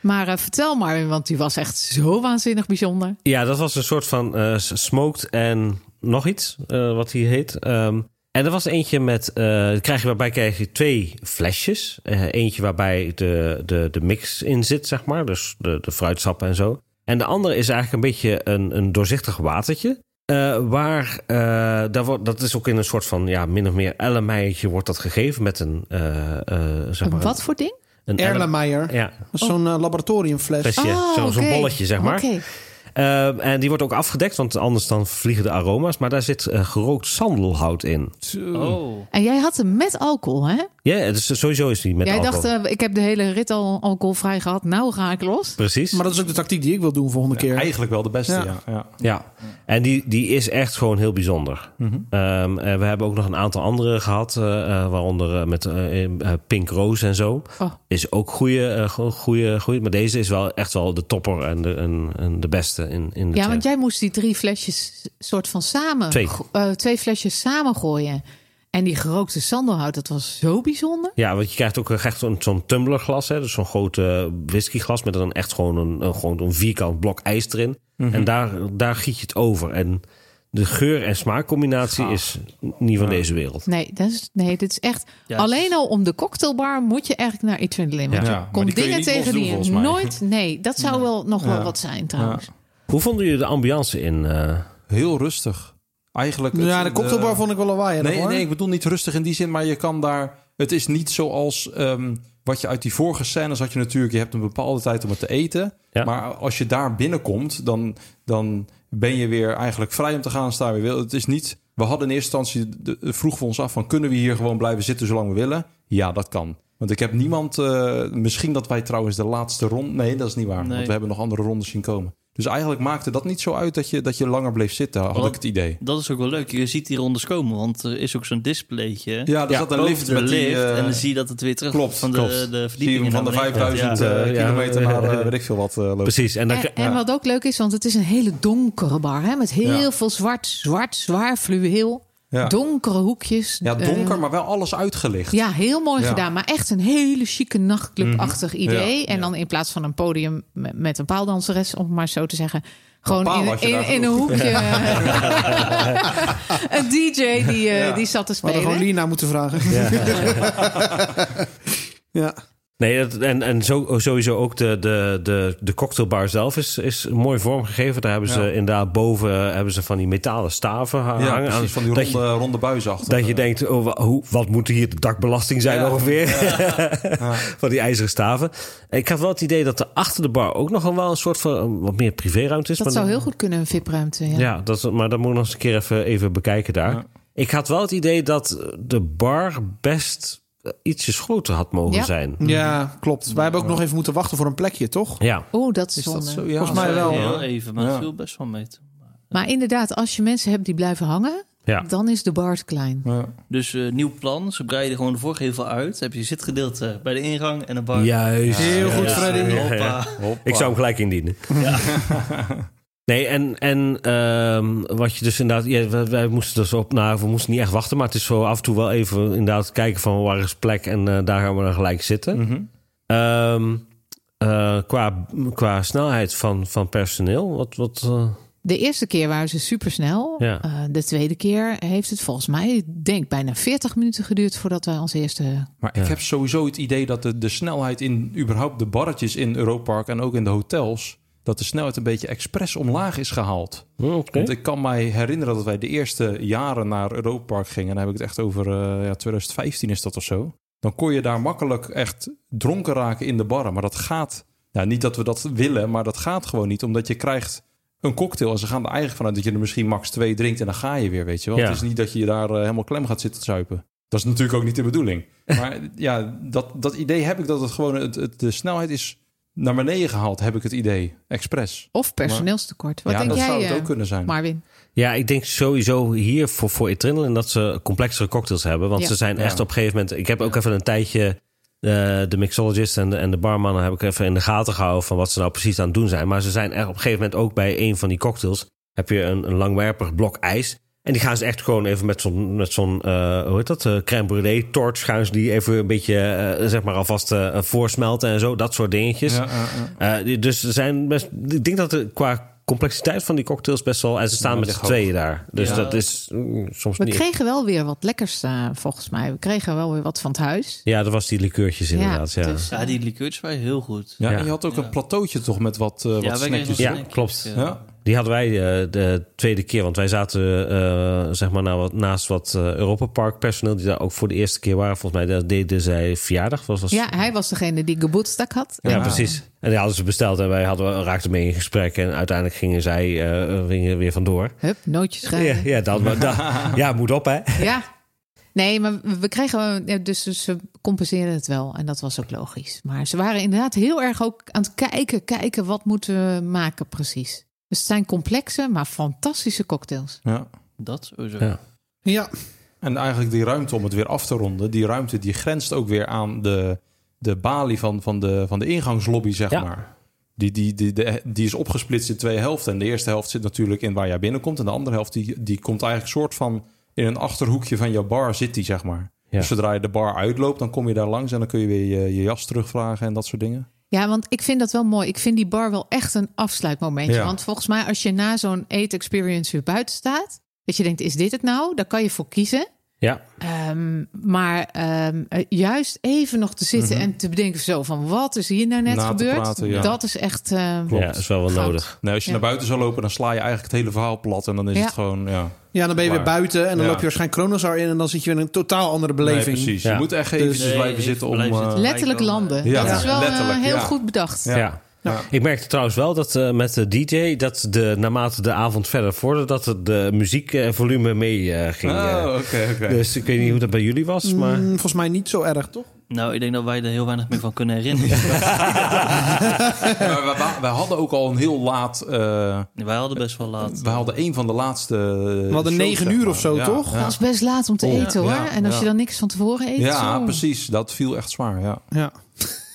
S3: Maar eh, vertel maar, want die was echt zo waanzinnig bijzonder.
S2: ja dat was een soort van eh, s- smoked en nog iets, eh, wat die heet. Ehm, en er was eentje met, eh, krijg je, waarbij krijg je twee flesjes. Eh, eentje waarbij de, de, de mix in zit, zeg maar, dus de, de fruitsappen en zo. En de andere is eigenlijk een beetje een, een doorzichtig watertje. Eh, waar, eh, daar wordt, dat is ook in een soort van, ja, min of meer ellemeijertje wordt dat gegeven met een, eh, eh, zeg maar...
S3: Wat voor ding?
S2: Een elle-
S4: Oh.
S1: Erlenmeyer.
S2: Ja,
S1: Dat is zo'n eh, laboratoriumfles.
S2: flesje, zo'n zo'n
S3: Ah, Oh, oké.
S2: bolletje, zeg maar.
S3: Oké.
S2: Ehm, en die wordt ook afgedekt, want anders dan vliegen de aroma's. Maar daar zit eh, gerookt sandelhout in.
S5: Oh,
S3: En jij had hem met alcohol, hè?
S2: Ja, dus sowieso is die met
S3: jij
S2: alcohol.
S3: dacht, eh, ik heb de hele rit al alcoholvrij gehad. Nou ga ik los.
S2: Precies.
S1: Maar dat is ook de tactiek die ik wil doen volgende keer.
S4: Eigenlijk wel de beste,
S1: Ja.
S4: ja. ja.
S2: Ja, en die, die is echt gewoon heel bijzonder.
S4: Mhm.
S2: Ehm, eh, we hebben ook nog een aantal andere gehad, eh, eh, waaronder eh, met eh, eh, Pink Rose en zo.
S3: Oh.
S2: Is ook goede, eh, gewoon goede, goede. Maar deze is wel echt wel de topper en de, en, en de beste in, in de
S3: Ja,
S2: tent.
S3: want jij moest die drie flesjes soort van samen...
S2: Twee.
S3: go- eh, twee flesjes samen gooien. En die gerookte sandelhout, dat was zo bijzonder.
S2: Ja, want je krijgt ook echt zo'n zo'n tumblerglas. Hè? Dus zo'n groot eh, whiskyglas met dan echt gewoon een, een- gewoon een vierkant blok ijs erin.
S4: Mhm.
S2: En daar, daar giet je het over. En de geur- en
S4: Ah.
S2: smaakcombinatie is n- niet van deze wereld.
S3: Nee, dat is, nee dit is echt...
S5: Ja,
S3: alleen al om de cocktailbar moet je eigenlijk naar iets vinden. Want
S4: Ja,
S3: je
S4: maar
S3: komt
S4: die kun je
S3: dingen
S4: niet
S3: tegen
S4: losdoen,
S3: die je
S4: volgens mij.
S3: nooit... Nee, dat zou wel nog wel
S4: Ja.
S3: wat zijn trouwens.
S2: Hoe vonden jullie de ambiance in? eh
S4: Heel rustig. Eigenlijk. het-
S1: Nou Ja, de cocktailbar
S4: de-
S1: vond ik wel lawaai.
S4: eh, Nee, nee, ik bedoel niet rustig in die zin, maar je kan daar. Het is niet zoals ehm, wat je uit die vorige scènes had. Je natuurlijk, je hebt een bepaalde tijd om het te eten.
S2: Ja.
S4: Maar als je daar binnenkomt, dan, dan ben je weer eigenlijk vrij om te gaan staan. waar Je wil. Het is niet. We hadden in eerste instantie de, vroegen we ons af van kunnen we hier gewoon blijven zitten zolang we willen? Ja, dat kan. Want ik heb niemand. eh, misschien dat wij trouwens de laatste ronde. Nee, dat is niet waar.
S5: Nee.
S4: Want we hebben nog andere rondes zien komen. Dus eigenlijk maakte dat niet zo uit dat je, dat je langer bleef zitten, had
S5: Wat?
S4: ik het idee.
S5: Dat is ook wel leuk. Je ziet hieronder komen, want er is ook zo'n displaytje.
S4: Ja, er zat een
S5: boven
S4: lift
S5: de
S4: met die, eh,
S5: en dan zie je dat het weer terug
S4: klopt,
S5: van de,
S4: klopt.
S5: de
S4: Zie je
S5: verdieping
S4: hem van de
S5: naar beneden
S4: 5000
S5: gaat.
S2: ja.
S4: eh,
S2: Ja.
S4: kilometer
S2: Ja.
S4: naar eh, weet ik veel wat eh, loopt.
S2: Precies. En dan,
S3: En, en wat ook leuk is, want het is een hele donkere bar. Hè, met heel
S4: Ja.
S3: veel zwart, zwart, zwaar fluweel.
S4: Ja.
S3: Donkere hoekjes.
S4: Ja, donker,
S3: eh,
S4: maar wel alles uitgelicht.
S3: ja, heel mooi
S4: Ja. Mhm.
S3: gedaan. Maar echt een hele chique nachtclubachtig idee.
S4: Ja.
S3: En dan in plaats van een podium me- met een paaldanseres, om het maar zo te zeggen. Gewoon
S4: paal
S3: in,
S4: had je daar
S3: in, in een hoekje. [laughs] een DJ die, eh,
S4: Ja.
S3: die zat te
S1: We hadden gewoon
S3: spelen.
S1: Lina moeten vragen. Ja. [laughs]
S2: Nee, dat- en, en zo, sowieso ook de, de, de, de cocktailbar zelf is, is mooi vormgegeven. Daar hebben ze
S4: Ja.
S2: inderdaad boven eh, hebben ze van die metalen staven ha-
S4: Ja,
S2: hangen.
S4: precies, van die
S2: dat,
S4: ronde,
S2: je,
S4: ronde buis achter.
S2: dat je denkt, oh, wa- hoe, wat moet hier de dakbelasting zijn
S4: Eh, Ja.
S2: ongeveer? [laughs] van die ijzeren staven. En ik had wel het idee dat er achter de bar ook nog wel een soort van eh, wat meer privéruimte is.
S3: Dat
S2: maar
S3: zou
S2: dan-
S3: heel goed kunnen, een VIP-ruimte. Ja.
S2: ja, dat, is- maar dat moet ik nog eens een keer even, even bekijken daar.
S4: Ja.
S2: Ik had wel het idee dat de bar best eh, ietsjes groter had mogen
S3: Ja.
S2: zijn.
S1: klopt. Wij hebben ook nog even moeten wachten voor een plekje, toch?
S2: Ja,
S3: Oeh, dat is,
S4: Is
S3: zonde.
S4: dat zo? Ja,
S1: Volgens mij
S4: zo-
S1: wel,
S4: ja.
S5: Heel even, maar
S4: Ja.
S5: het viel best wel mee.
S3: Maar inderdaad, als je mensen hebt die blijven hangen,
S2: ja.
S3: dan is de bar te klein.
S4: Ja.
S5: Dus eh, nieuw plan. Ze breiden gewoon de voorgevel uit. Dan heb je een zitgedeelte bij de ingang en de bar.
S2: Juist.
S1: Heel goed,
S5: Ja,
S1: Freddy.
S5: Hoppa.
S2: Ik zou hem gelijk indienen. [laughs] Nee, en, en ehm, wat je dus inderdaad... Ja, wij, wij moesten dus op... Nou, we moesten niet echt wachten, maar het is zo af en toe wel even inderdaad kijken van waar is plek en eh, daar gaan we dan gelijk zitten.
S4: Mhm.
S2: Ehm, eh, qua, qua snelheid van, van personeel, wat... wat eh,
S3: De eerste keer waren ze supersnel.
S2: Ja.
S3: Eh, de tweede keer heeft het volgens mij, ik denk bijna 40 minuten geduurd voordat wij ons eerste.
S4: Maar
S2: Ja.
S4: ik heb sowieso het idee dat de, de snelheid in überhaupt de barretjes in Europark en ook in de hotels, dat de snelheid een beetje expres omlaag is gehaald.
S2: hm, oké.
S4: Want ik kan mij herinneren dat wij de eerste jaren naar Europark gingen. Dan heb ik het echt over eh, ja, 2015 is dat of zo. Dan kon je daar makkelijk echt dronken raken in de barren. Maar dat gaat, nou, niet dat we dat willen, maar dat gaat gewoon niet. Omdat je krijgt een cocktail en ze gaan er eigenlijk vanuit dat je er misschien max twee drinkt en dan ga je weer, weet je wel.
S2: Ja.
S4: Het is niet dat je daar eh, helemaal klem gaat zitten zuipen. Dat is natuurlijk ook niet de bedoeling. Maar ja, dat, dat idee heb ik dat het gewoon, het, het- de snelheid is naar beneden gehaald, heb ik het idee. Expres.
S3: Of personeelstekort. Wat
S4: ja,
S3: denk
S4: dat
S3: jij,
S4: zou het
S3: eh,
S4: ook kunnen zijn.
S3: Marvin?
S2: Ja, ik denk sowieso hier voor, voor Adrenaline dat ze complexere cocktails hebben. Want
S3: Ja.
S2: ze zijn
S4: Ja.
S2: echt op een gegeven moment... Ik heb ook even een tijdje eh, de mixologist en de, en de barman... heb ik even in de gaten gehouden van wat ze nou precies aan het doen zijn. Maar ze zijn echt op een gegeven moment ook bij een van die cocktails... heb je een, een langwerpig blok ijs. En die gaan ze echt gewoon even met zo'n, met zo'n eh, hoe heet dat, eh crème brûlée torch... gaan ze die even een beetje, eh, zeg maar, alvast eh, voorsmelten en zo. Dat soort dingetjes.
S4: Ja, ja, ja.
S2: Eh, die- dus er zijn best. Ik denk dat er qua complexiteit van die cocktails best wel. En ze staan
S4: Ja,
S2: met
S4: ligt
S2: z'n
S4: hoog.
S2: tweeën daar. Dus
S5: Ja.
S2: dat is mm, soms
S3: We
S2: niet.
S3: kregen wel weer wat lekkers, eh, volgens mij. We kregen wel weer wat van het huis.
S2: Ja, dat was die liqueurtjes inderdaad. Ja,
S3: dus, eh,
S5: Ja, die liqueurs waren heel goed.
S4: Ja,
S2: Ja.
S4: en je had ook een plateautje toch met wat, eh,
S5: Ja,
S4: wat
S5: wij kregen
S4: snackjes.
S5: nog
S2: Ja,
S5: snackjes.
S2: klopt.
S5: Ja.
S4: Ja.
S2: Die hadden wij eh, de tweede keer. Want wij zaten eh, zeg maar nou, wat, naast wat eh, Europa Park personeel. die daar ook voor de eerste keer waren. Volgens mij dat deden zij verjaardag. Was, was,
S3: Ja, hij was degene die geboetstak had.
S2: Ja,
S4: Ja.
S2: precies. En die hadden ze besteld. En wij hadden, raakten mee in gesprek. En uiteindelijk gingen zij eh, gingen weer vandoor.
S3: Hup, nootjes
S2: Ja,
S3: rijden.
S2: ja, dat, maar dat- ja, moet op, hè?
S3: Ja. Nee, maar we kregen eh, dus ze compenseren het wel en dat was ook logisch. Maar ze waren inderdaad heel erg ook aan het kijken, kijken wat moeten we maken precies. Dus het zijn complexe, maar fantastische cocktails.
S4: Ja.
S5: Dat sowieso.
S2: Ja.
S1: Ja,
S4: En eigenlijk die ruimte om het weer af te ronden, die ruimte die grenst ook weer aan de, de balie van, van, de, van de ingangslobby, zeg
S2: Ja.
S4: maar. Die, die, die, de- die is opgesplitst in twee helften. En de eerste helft zit natuurlijk in waar jij binnenkomt. En de andere helft die, die komt eigenlijk soort van in een achterhoekje van jouw bar zit die, zeg maar.
S2: Ja.
S4: Dus zodra je de bar uitloopt, dan kom je daar langs en dan kun je weer je, je jas terugvragen en dat soort dingen.
S3: Ja, want ik vind dat wel mooi. Ik vind die bar wel echt een afsluitmomentje.
S4: Ja.
S3: Want volgens mij als je na zo'n eet-experience weer buiten staat... dat je denkt, is dit het nou? Daar kan je voor kiezen.
S2: Ja.
S3: Ehm, maar ehm, eh, juist even nog te zitten en te bedenken zo van... wat is hier nou net
S4: Mhm. Na te
S3: gebeurd?
S4: praten, ja.
S3: Dat is echt... ehm,
S2: Ja, is wel wel
S3: Goud.
S2: nodig.
S4: Nou, als je
S3: Ja.
S4: naar buiten zou lopen, dan sla je eigenlijk het hele verhaal plat. En dan is
S3: Ja.
S4: het gewoon, ja.
S1: ja dan ben je weer
S4: Waar?
S1: buiten en dan
S4: Ja.
S1: loop je waarschijnlijk Kronosar in... en dan zit je in een totaal andere beleving.
S4: Nee, precies.
S2: Ja. Dus-
S4: Je moet echt eventjes
S5: Nee,
S4: blijven
S5: even
S4: zitten om...
S5: blijven
S4: eh,
S5: zitten.
S3: Letterlijk
S5: Icon.
S3: landen.
S4: Ja,
S3: dat is wel eh,
S4: letterlijk,
S3: heel
S4: ja.
S3: goed bedacht.
S2: Ja.
S4: Ja.
S2: Ik merkte trouwens wel dat eh, met de DJ... dat de, naarmate de avond verder vorderde... dat het de muziekvolume mee eh, ging. eh.
S4: Oh, oké, oké.
S2: Dus ik weet niet hoe dat bij jullie was, maar...
S1: Mm, volgens mij niet zo erg, toch?
S5: Nou, ik denk dat wij er heel weinig meer van kunnen herinneren.
S4: [laughs] Maar we- we- we hadden ook al een heel laat... eh,
S5: [laughs] wij hadden best wel laat.
S4: we hadden een van de laatste... We
S1: hadden negen uur of zo, toch?
S3: Dat is best laat om te eten hoor.
S4: ja,
S3: en als
S4: ja.
S3: je dan niks van tevoren eet.
S4: Ja,
S3: zo.
S4: precies. Dat viel echt zwaar, ja.
S1: Ja.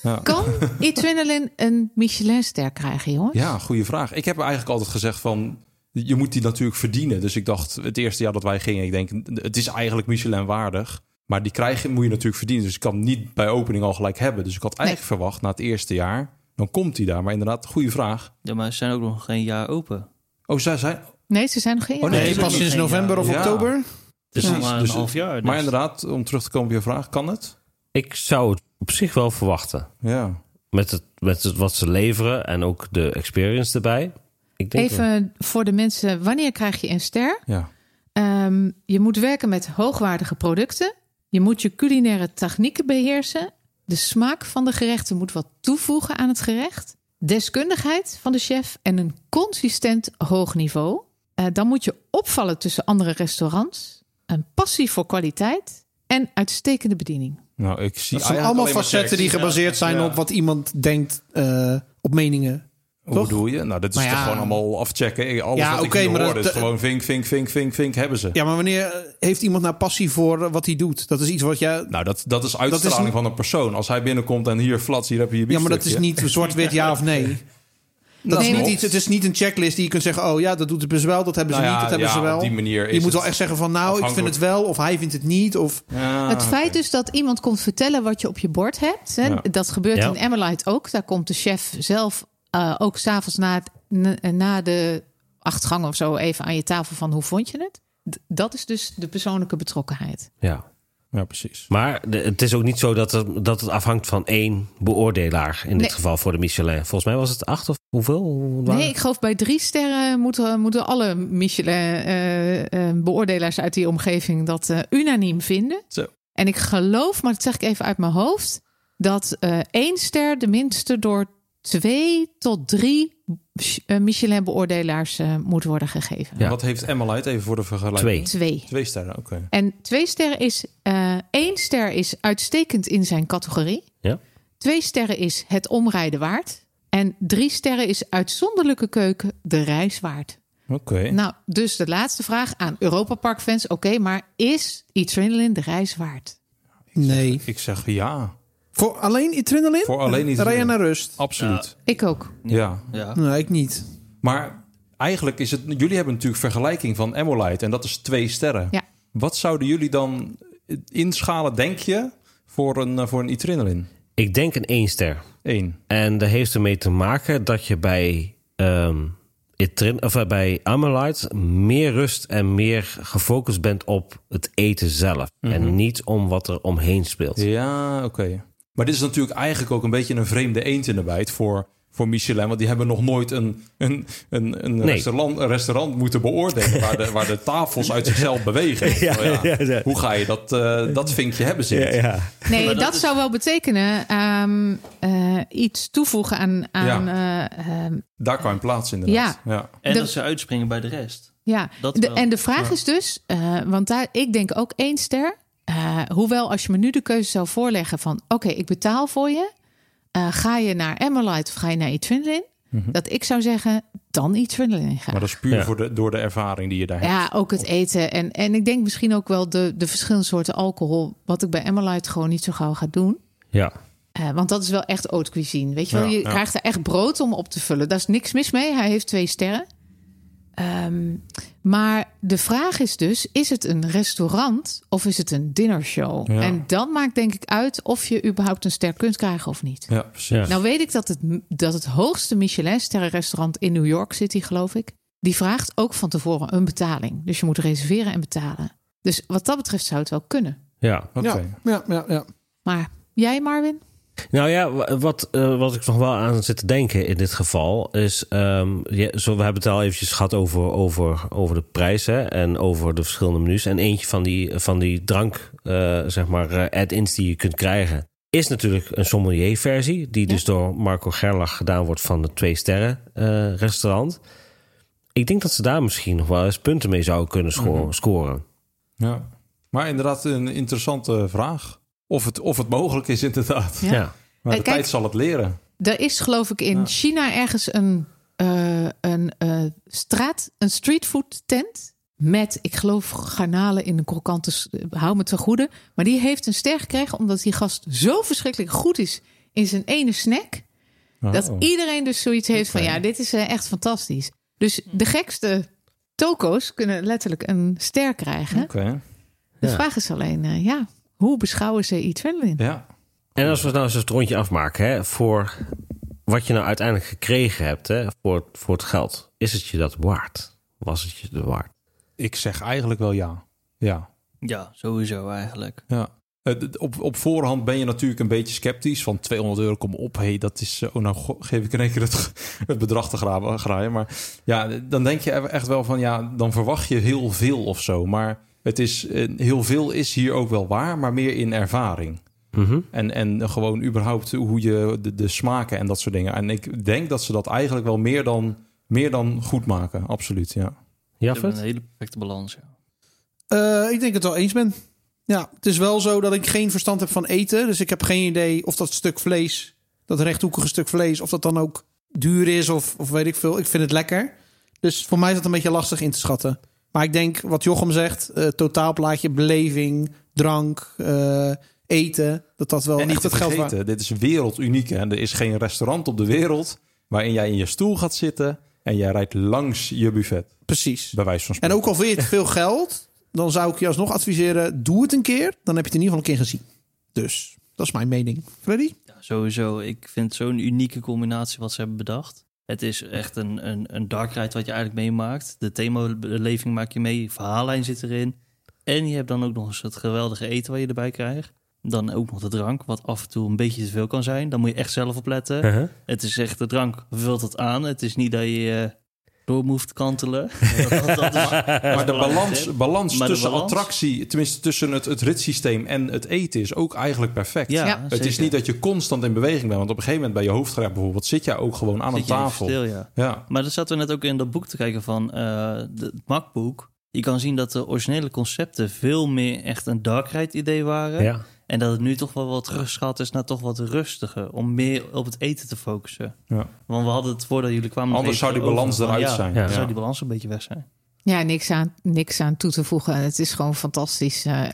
S4: [laughs]
S3: Kan Itwindelin een Michelinster krijgen, jongens?
S4: Ja, goede vraag. Ik heb eigenlijk altijd gezegd van... Je moet die natuurlijk verdienen. Dus ik dacht, het eerste jaar dat wij gingen... Ik denk, het is eigenlijk Michelin waardig. Maar die krijg je, moet je natuurlijk verdienen. Dus ik kan hem niet bij opening al gelijk hebben. Dus ik had eigenlijk verwacht, na het eerste jaar... Dan komt hij daar. Maar inderdaad, goede vraag.
S5: Ja, maar ze zijn ook nog geen jaar open.
S4: Oh, zij zijn...
S3: Nee, ze zijn nog geen.
S4: Oh,
S1: Nee,
S5: dat is
S1: pas
S5: ook
S1: sinds
S5: geen
S1: november
S5: jaar.
S1: of
S4: Ja.
S1: oktober.
S5: Dus
S4: Ja.
S5: nog maar een
S4: Dus-
S5: half jaar. dus-
S4: Maar inderdaad, om terug te komen op je vraag, kan het?
S2: Ik zou het op zich wel verwachten.
S4: Ja.
S2: Met, het, met het, wat ze leveren en ook de experience erbij. Ik denk wel.
S3: Even voor de mensen, wanneer krijg je een ster?
S4: Ja.
S3: Ehm, je moet werken met hoogwaardige producten. Je moet je culinaire technieken beheersen. De smaak van de gerechten moet wat toevoegen aan het gerecht. Deskundigheid van de chef en een consistent hoog niveau. Eh, dan moet je opvallen tussen andere restaurants. Een passie voor kwaliteit en uitstekende bediening.
S4: Nou, ik zie
S1: Dat zijn
S4: eigenlijk
S1: allemaal
S4: alleen maar
S1: facetten
S4: seks.
S1: die gebaseerd zijn
S4: Ja.
S1: op wat iemand denkt, eh, op meningen.
S4: Hoe
S1: Toch?
S4: bedoel je? Nou, dat is
S1: Maar
S4: toch
S1: ja.
S4: gewoon allemaal afchecken. Alles
S1: Ja,
S4: wat ik
S1: oké,
S4: hier
S1: maar
S4: hoor
S1: dat-
S4: is gewoon vink, vink, vink, vink, vink hebben ze.
S1: Ja, maar wanneer eh, heeft iemand nou passie voor eh, wat hij doet? Dat is iets wat jij...
S4: Nou, dat, dat is uitstraling
S1: niet-
S4: van een persoon. Als hij binnenkomt en hier flats, hier heb je je
S1: Ja, maar dat is
S4: biefstukje.
S1: niet zwart-wit ja of
S4: [laughs]
S1: nee. Dat is
S3: Nee,
S1: niet
S4: maar-
S1: iets, het is niet een checklist die je kunt zeggen... oh ja, dat doet het best wel, dat hebben ze
S4: Nou ja,
S1: niet, dat hebben
S4: ja,
S1: ze wel.
S4: op die manier is
S1: je moet
S4: het
S1: wel echt zeggen van nou, ik vind
S4: afhankelijk.
S1: het wel... of hij vindt het niet, of...
S4: Ja,
S3: het feit dus dat iemand komt vertellen wat je op je bord hebt. Hè,
S4: Ja.
S3: Dat gebeurt
S2: Ja.
S3: in Emmerlight ook. Daar komt de chef zelf eh, ook s'avonds na, het- na- na de acht gangen of zo even aan je tafel van hoe vond je het? D- dat is dus de persoonlijke betrokkenheid.
S2: Ja.
S4: ja, precies.
S2: Maar de- het is ook niet zo dat het, dat het afhangt van één beoordelaar. In dit
S3: Nee.
S2: geval voor de Michelin. Volgens mij was het acht of hoeveel? Hoe- waar-
S3: Nee, ik geloof bij drie sterren moeten, moeten alle Michelin-beoordelaars uit die omgeving dat eh, unaniem vinden.
S4: Zo.
S3: En ik geloof, maar dat zeg ik even uit mijn hoofd, dat eh, één ster de minste door twee tot drie eh, Michelin-beoordelaars eh, moet worden gegeven.
S2: Ja.
S4: Wat heeft Emma Light even voor de vergelijking?
S2: Twee.
S3: Twee.
S4: Twee sterren, oké.
S3: En twee sterren is, eh één ster is uitstekend in zijn categorie.
S2: Ja.
S3: Twee sterren is het omrijden waard. En drie sterren is uitzonderlijke keuken de reis waard.
S4: Oké.
S3: Nou, dus de laatste vraag aan Europa Park fans. Oké, maar is Adrenaline de reis waard?
S1: Nee.
S4: Ik zeg ja,
S1: Voor alleen Itrinolin?
S4: Voor alleen Itrinolin.
S1: Rij je naar rust?
S4: absoluut.
S3: Ik ook.
S4: Ja.
S5: Ja.
S1: Nee, ik niet.
S4: Maar eigenlijk is het... Jullie hebben natuurlijk vergelijking van Emma Light en dat is twee sterren.
S3: Ja.
S4: Wat zouden jullie dan inschalen, denk je, voor een, eh, voor een Itrinolin?
S2: Ik denk een één ster.
S4: Eén.
S2: En dat heeft ermee te maken dat je bij, ehm Itrin, of eh, bij Amelite meer rust en meer gefocust bent op het eten zelf. En niet om wat er omheen speelt.
S4: Ja, oké. Maar dit is natuurlijk eigenlijk ook een beetje een vreemde eend in de bijt voor, voor Michelin. Want die hebben nog nooit een, een, een, een restaurant, een restaurant moeten beoordelen... waar
S2: [laughs]
S4: de, waar de tafels uit zichzelf bewegen.
S2: Ja,
S4: Oh ja.
S2: ja, ja.
S4: Hoe ga je dat, eh, dat vinkje hebben zitten?
S3: Nee,
S5: Maar
S3: dat,
S5: dat is-
S3: zou wel betekenen ehm, eh, iets toevoegen aan. aan eh, ehm,
S4: Daar kwam je plaats inderdaad. Ja. Ja.
S5: En
S3: De-
S5: dat ze uitspringen bij de rest.
S3: ja.
S5: Dat
S3: De-
S5: wel.
S3: en de vraag is dus, eh, want daar, ik denk ook één ster. Eh, hoewel, als je me nu de keuze zou voorleggen van: oké, ik betaal voor je. Eh, ga je naar Emmerlite of ga je naar Adrenaline?
S5: Mhm.
S3: Dat ik zou zeggen, dan Adrenaline gaan.
S4: Maar dat is puur
S2: Ja.
S4: voor de, door de ervaring die je daar hebt.
S3: Ja, ook
S4: Oh.
S3: het eten. En, en ik denk misschien ook wel de, de verschillende soorten alcohol. Wat ik bij Emmerlite gewoon niet zo gauw ga doen.
S2: Ja.
S3: Eh, want dat is wel echt haute cuisine. Weet je wel,
S4: Ja,
S3: je
S4: ja.
S3: krijgt er echt brood om op te vullen. Daar is niks mis mee. Hij heeft twee sterren. Ehm, maar de vraag is dus: is het een restaurant of is het een dinnershow?
S4: Ja.
S3: En dan maakt denk ik uit of je überhaupt een ster kunt krijgen of niet.
S4: Ja, precies.
S2: Ja.
S3: Nou weet ik dat het, dat het hoogste Michelin-sterrenrestaurant in New York City, geloof ik, die vraagt ook van tevoren een betaling. Dus je moet reserveren en betalen. Dus wat dat betreft zou het wel kunnen.
S2: ja.
S4: Oké.
S1: Ja, ja, ja, ja.
S3: Maar jij, Marvin?
S2: Nou ja, wa- wat, eh, wat ik nog wel aan zit te denken in dit geval is... ehm, je- zo, we hebben het al eventjes gehad over, over, over de prijzen en over de verschillende menus. En eentje van die, van die drank, eh, zeg maar, eh, add-ins die je kunt krijgen... is natuurlijk een sommelier-versie, die dus door Marco Gerlach gedaan wordt van het Twee Sterren eh, restaurant. Ik denk dat ze daar misschien nog wel eens punten mee zouden kunnen sco- scoren.
S4: Ja. Maar inderdaad, een interessante vraag. Of het, of het mogelijk is, inderdaad.
S3: Ja.
S2: Ja.
S4: Maar de
S3: Eh, kijk-
S4: tijd zal het leren.
S3: Er is geloof ik in
S4: Ja.
S3: China ergens een, eh, een eh, straat, een streetfood tent. Met, ik geloof, garnalen in een krokante. s- Hou me te goede. Maar die heeft een ster gekregen omdat die gast zo verschrikkelijk goed is in zijn ene snack. Dat
S4: Oh.
S3: iedereen dus zoiets heeft van:
S4: Oké.
S3: ja, dit is eh, echt fantastisch. Dus de gekste toko's kunnen letterlijk een ster krijgen.
S4: Oké.
S3: De
S2: Ja.
S3: vraag is alleen: eh, ja, hoe beschouwen ze iets verder in?
S4: Ja.
S2: En als we nou eens het rondje afmaken, hè, voor wat je nou uiteindelijk gekregen hebt hè, voor, voor het geld, is het je dat waard? Was het je dat waard?
S4: Ik zeg eigenlijk wel ja. Ja.
S5: Ja, sowieso eigenlijk.
S4: ja. Eh, d- Op, op voorhand ben je natuurlijk een beetje sceptisch. Van 200 euro, kom op. hey, dat is... eh, Oh, nou go- geef ik in één keer het, [laughs] het bedrag te gra- graaien. Maar ja, dan denk je e-, echt wel van... Ja, dan verwacht je heel veel of zo. Maar het is... eh, Heel veel is hier ook wel waar, maar meer in ervaring.
S2: Mhm.
S4: En, en gewoon überhaupt hoe je de, de smaken en dat soort dingen. En ik denk dat ze dat eigenlijk wel meer dan, meer dan goed maken. Absoluut, ja.
S5: Ze hebben
S2: Jaffet?
S5: een hele perfecte balans. Ja.
S1: Eh, ik denk het wel eens ben. Ja, het is wel zo dat ik geen verstand heb van eten. Dus ik heb geen idee of dat stuk vlees, dat rechthoekige stuk vlees, of dat dan ook duur is of, of weet ik veel. Ik vind het lekker. Dus voor mij is dat een beetje lastig in te schatten. Maar ik denk, wat Jochem zegt, eh, totaalplaatje, beleving, drank, eh, eten, dat dat wel
S4: en
S1: echt
S4: niet
S1: het
S4: te
S1: geld waard
S4: vergeten, dit is werelduniek. Hè? Er is geen restaurant op de wereld waarin jij in je stoel gaat zitten... en jij rijdt langs je buffet,
S1: Precies.
S4: bij wijze van
S1: En
S4: spreken.
S1: ook al vind je het veel geld, dan zou ik je alsnog adviseren, doe het een keer. Dan heb je het in ieder geval een keer gezien. Dus, dat is mijn mening. Freddy?
S5: Ja, sowieso. Ik vind het zo'n unieke combinatie wat ze hebben bedacht. Het is echt een, een, een dark ride wat je eigenlijk meemaakt. De themabeleving maak je mee, verhaallijn zit erin. En je hebt dan ook nog eens het geweldige eten wat je erbij krijgt. Dan ook nog de drank, wat af en toe een beetje te veel kan zijn. Dan moet je echt zelf opletten.
S2: Mhm.
S5: Het is echt de drank, vult het aan. Het is niet dat je eh, door hoeft
S4: [laughs]
S5: kantelen. Dat- dat is-
S4: Maar de balans, balans
S5: Maar de
S4: tussen
S5: balans?
S4: attractie... tenminste tussen het, het ritssysteem en het eten... is ook eigenlijk perfect.
S5: ja,
S3: Ja.
S5: zeker.
S4: Het is niet dat je constant in beweging bent. Want op een gegeven moment bij je hoofdgerecht bijvoorbeeld... zit jij ook gewoon aan
S5: Zit
S4: een
S5: je even
S4: tafel.
S5: Stil, ja.
S4: Ja.
S5: Maar dan zaten we net ook in dat boek te kijken van eh, de- het MacBook. Je kan zien dat de originele concepten veel meer echt een dark ride idee waren.
S2: Ja.
S5: En dat het nu toch wel wat teruggeschat is naar toch wat rustiger. Om meer op het eten te focussen.
S4: Ja.
S5: Want we hadden het voordat jullie kwamen... nog
S4: Anders
S5: Hm. even
S4: zou die balans
S5: over van,
S4: eruit
S5: ja,
S4: zijn.
S5: dan
S2: Ja.
S5: zou die balans een beetje weg zijn.
S3: Ja, niks aan, niks aan toe te voegen. Het is gewoon fantastisch. Eh,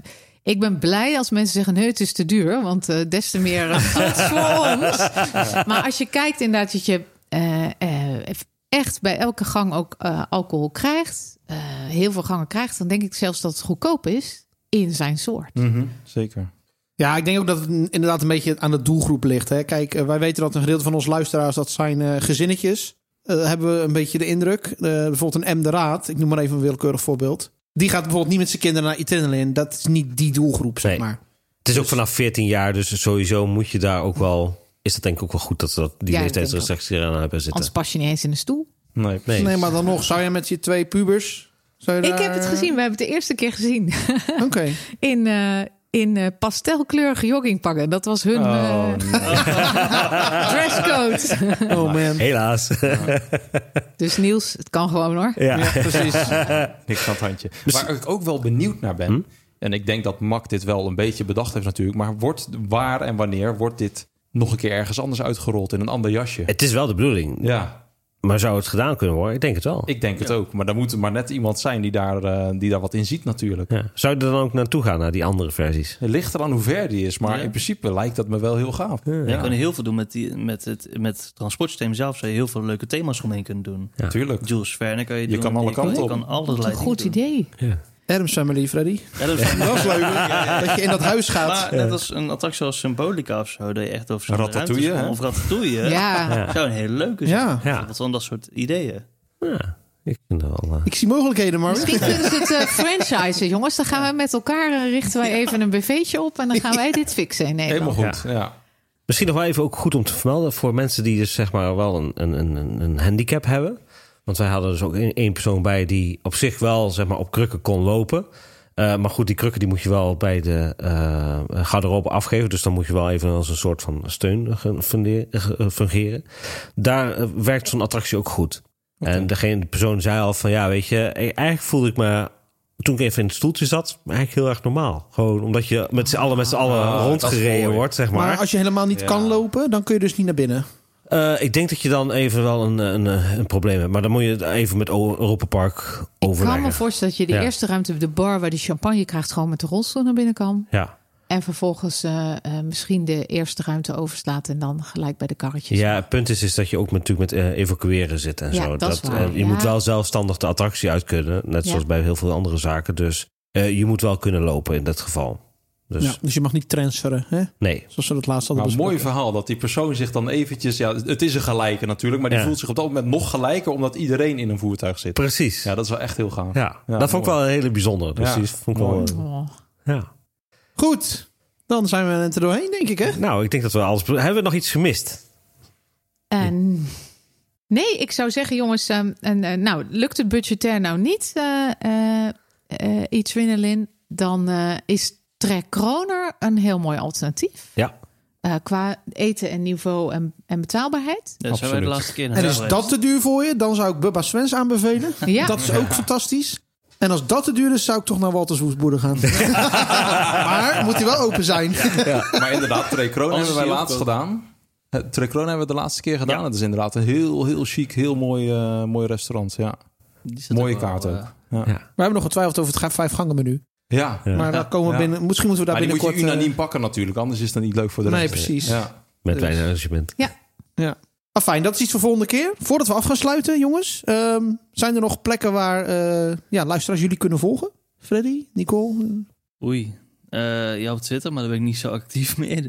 S3: ik ben blij als mensen zeggen: nee, het is te duur. Want eh, des te meer eh, goeds voor ons. Maar als je kijkt, inderdaad, dat je eh, eh, echt bij elke gang ook eh, alcohol krijgt. eh, heel veel gangen krijgt. Dan denk ik zelfs dat het goedkoop is in zijn soort.
S4: Mhm. Zeker.
S1: Ja, ik denk ook dat het een- inderdaad een beetje aan de doelgroep ligt. Hè. Kijk, eh, wij weten dat een gedeelte van ons luisteraars, dat zijn eh, gezinnetjes. Eh, hebben we een beetje de indruk. Eh, bijvoorbeeld een M de Raad, ik noem maar even een willekeurig voorbeeld. Die gaat bijvoorbeeld niet met zijn kinderen naar Adrenaline. Dat is niet die doelgroep, zeg
S2: Nee.
S1: maar.
S2: Het is ook vanaf 14 jaar, dus sowieso moet je daar ook wel. Is dat denk ik ook wel goed dat ze dat die
S3: Ja, ik
S2: leeftijdsrestrictie eraan hebben zitten?
S3: Anders pas je niet eens in de stoel.
S4: Nee.
S2: Nee.
S1: Nee, maar dan nog, zou je met je twee pubers... Zou je
S3: Ik
S1: daar-
S3: heb het gezien. We hebben het de eerste keer gezien. [laughs]
S1: Oké.
S3: In, eh, in eh, pastelkleurige joggingpakken. Dat was hun eh,
S4: Oh, nee. [laughs]
S3: dresscode.
S1: Oh man.
S2: Helaas.
S3: Dus Niels, het kan gewoon hoor.
S2: ja.
S1: Ja, precies.
S4: niks aan het handje. Waar ik ook wel benieuwd naar ben... en ik denk dat Mak dit wel een beetje bedacht heeft natuurlijk... maar wordt, waar en wanneer wordt dit nog een keer ergens anders uitgerold... in een ander jasje?
S2: [laughs] Het is wel de bedoeling.
S4: Ja,
S2: Maar zou het gedaan kunnen worden? Ik denk het wel.
S4: ik denk het ook. Maar dan moet er maar net iemand zijn die daar, eh, die daar wat in ziet natuurlijk.
S2: Ja. Zou je er dan ook naartoe gaan, naar die andere versies?
S4: Het ligt eraan hoe ver die is, maar
S5: Ja.
S4: in principe lijkt dat me wel heel gaaf.
S5: Ja. Je kan heel veel doen met, die, met, het, met het transportsysteem zelf. Zou je heel veel leuke thema's omheen kunnen doen.
S2: Ja.
S4: Tuurlijk.
S5: Jules Verne kan je,
S4: Je
S5: doen.
S4: kan alle kanten
S5: Je
S4: op.
S5: kan
S3: Wat
S5: allerlei
S3: een goed
S5: dingen doen.
S3: idee.
S1: Adam's Family, Freddy.
S5: Ja,
S2: [laughs]
S5: dat is-
S1: Dat is leuk. Dat je in dat huis gaat.
S5: Maar net als een attractie als Symbolica of zo, dat je echt over zo'n
S4: Ratatouille,
S5: ruimtes kon,
S4: hè?
S5: Of ratatouille.
S3: Ja.
S5: Dat zou een hele leuke zijn.
S1: Ja.
S2: Ja.
S5: Wat van dat soort ideeën.
S2: Ja, ik vind dat wel. eh,
S1: Ik zie mogelijkheden, maar
S3: Misschien kunnen ze het eh franchisen, jongens. Dan gaan we met elkaar eh, richten wij even een buffetje op en dan gaan wij dit fixen in Nederland.
S4: Helemaal goed, ja.
S2: Misschien nog wel even ook goed om te vermelden voor mensen die dus zeg maar wel een, een, een, een handicap hebben. Want wij hadden dus ook één één persoon bij die op zich wel zeg maar op krukken kon lopen. Eh, maar goed, die krukken die moet je wel bij de eh garderobe afgeven. Dus dan moet je wel even als een soort van steun ge- funde- ge- eh, fungeren. Daar eh, werkt zo'n attractie ook goed. En degene, de persoon zei al van ja, weet je, eh, eigenlijk voelde ik me toen ik even in het stoeltje zat, maar eigenlijk heel erg normaal. Gewoon omdat je met z'n allen, met z'n allen
S4: Ah, dat is
S2: rondgereden
S4: mooi.
S2: wordt, zeg maar.
S1: Maar als je helemaal niet
S4: Ja.
S1: kan lopen, dan kun je dus niet naar binnen.
S2: Eh, ik denk dat je dan even wel een, een, een probleem hebt. Maar dan moet je het even met O- Europa Park
S3: Ik kan
S2: overleggen.
S3: me voorstellen dat je de
S2: Ja.
S3: eerste ruimte, de bar waar die champagne krijgt, gewoon met de rolstoel naar binnen kan.
S2: Ja.
S3: En vervolgens eh, eh, misschien de eerste ruimte overslaat en dan gelijk bij de karretjes.
S2: ja, het punt is, is dat je ook natuurlijk met eh, evacueren zit en
S3: Ja,
S2: zo.
S3: dat is waar,
S2: eh, je
S3: ja.
S2: moet wel zelfstandig de attractie uit kunnen. Net
S3: Ja.
S2: zoals bij heel veel andere zaken. Dus eh, je moet wel kunnen lopen in dat geval. Dus
S1: Ja, dus je mag niet transferen, hè?
S2: nee.
S1: zoals we dat laatst hadden
S4: Nou, mooi
S1: besproken.
S4: verhaal dat die persoon zich dan eventjes... Ja, het is een gelijke natuurlijk, maar die
S2: Ja.
S4: voelt zich op dat moment nog gelijker... omdat iedereen in een voertuig zit.
S2: Precies. Ja,
S4: Ja, dat is wel echt heel gaaf.
S2: dat vond ik
S4: mooi.
S2: wel een hele bijzondere. Dus
S4: Ja,
S2: die vond ik
S4: mooi.
S2: wel,
S3: Oh.
S2: ja.
S1: Goed, dan zijn we er doorheen, denk ik, hè?
S2: Nou, ik denk dat we alles... be- Hebben we nog iets gemist?
S3: En nee, ik zou zeggen, jongens, ehm, en, eh, nou, lukt het budgetair nou niet, eh eh eh, Adrenaline, dan eh, is Trek Kroner een heel mooi alternatief.
S2: Ja.
S3: Eh, qua eten en niveau en, en
S5: [laughs]
S3: betaalbaarheid.
S5: Dat zijn wij de
S4: Absoluut.
S5: laatste keer naar
S1: En is
S5: geweest.
S1: dat te duur voor je, dan zou ik Bubba Swens aanbevelen.
S3: Ja.
S1: Dat is ook fantastisch. En als dat te duur is, zou ik toch naar Walters Woestboerder gaan.
S4: [laughs]
S1: maar moet hij wel open zijn.
S4: Maar inderdaad, Trey Kroon
S5: Anders
S4: hebben wij
S5: is die
S4: laatst
S5: ook
S4: gedaan. Eh, Trey Kroon hebben we de laatste keer gedaan. Het is inderdaad een heel, heel chic, heel mooi, eh, mooi restaurant. Ja,
S5: Die zit
S4: mooie
S5: ook wel,
S4: kaart
S5: eh,
S4: ook.
S1: [laughs] We hebben nog getwijfeld over het ga- vijfgangenmenu.
S4: ja.
S2: Ja.
S1: Maar daar komen we
S4: Ja.
S1: binnen. Misschien moeten we
S4: Maar
S1: daar
S4: die moet je
S1: binnenkort... eh,
S4: unaniem pakken natuurlijk, anders is dat niet leuk voor de rest.
S1: Nee, precies.
S4: Ja.
S2: Met
S1: Dus-
S2: weinig arrangement.
S1: Ja. Ah, fijn, dat is iets voor volgende keer. Voordat we af gaan sluiten, jongens. ehm, zijn er nog plekken waar eh, ja, luisteraars jullie kunnen volgen? Freddy, Nicole?
S5: Oei. Eh, ja, op Twitter, maar daar ben ik niet zo actief [laughs] meer.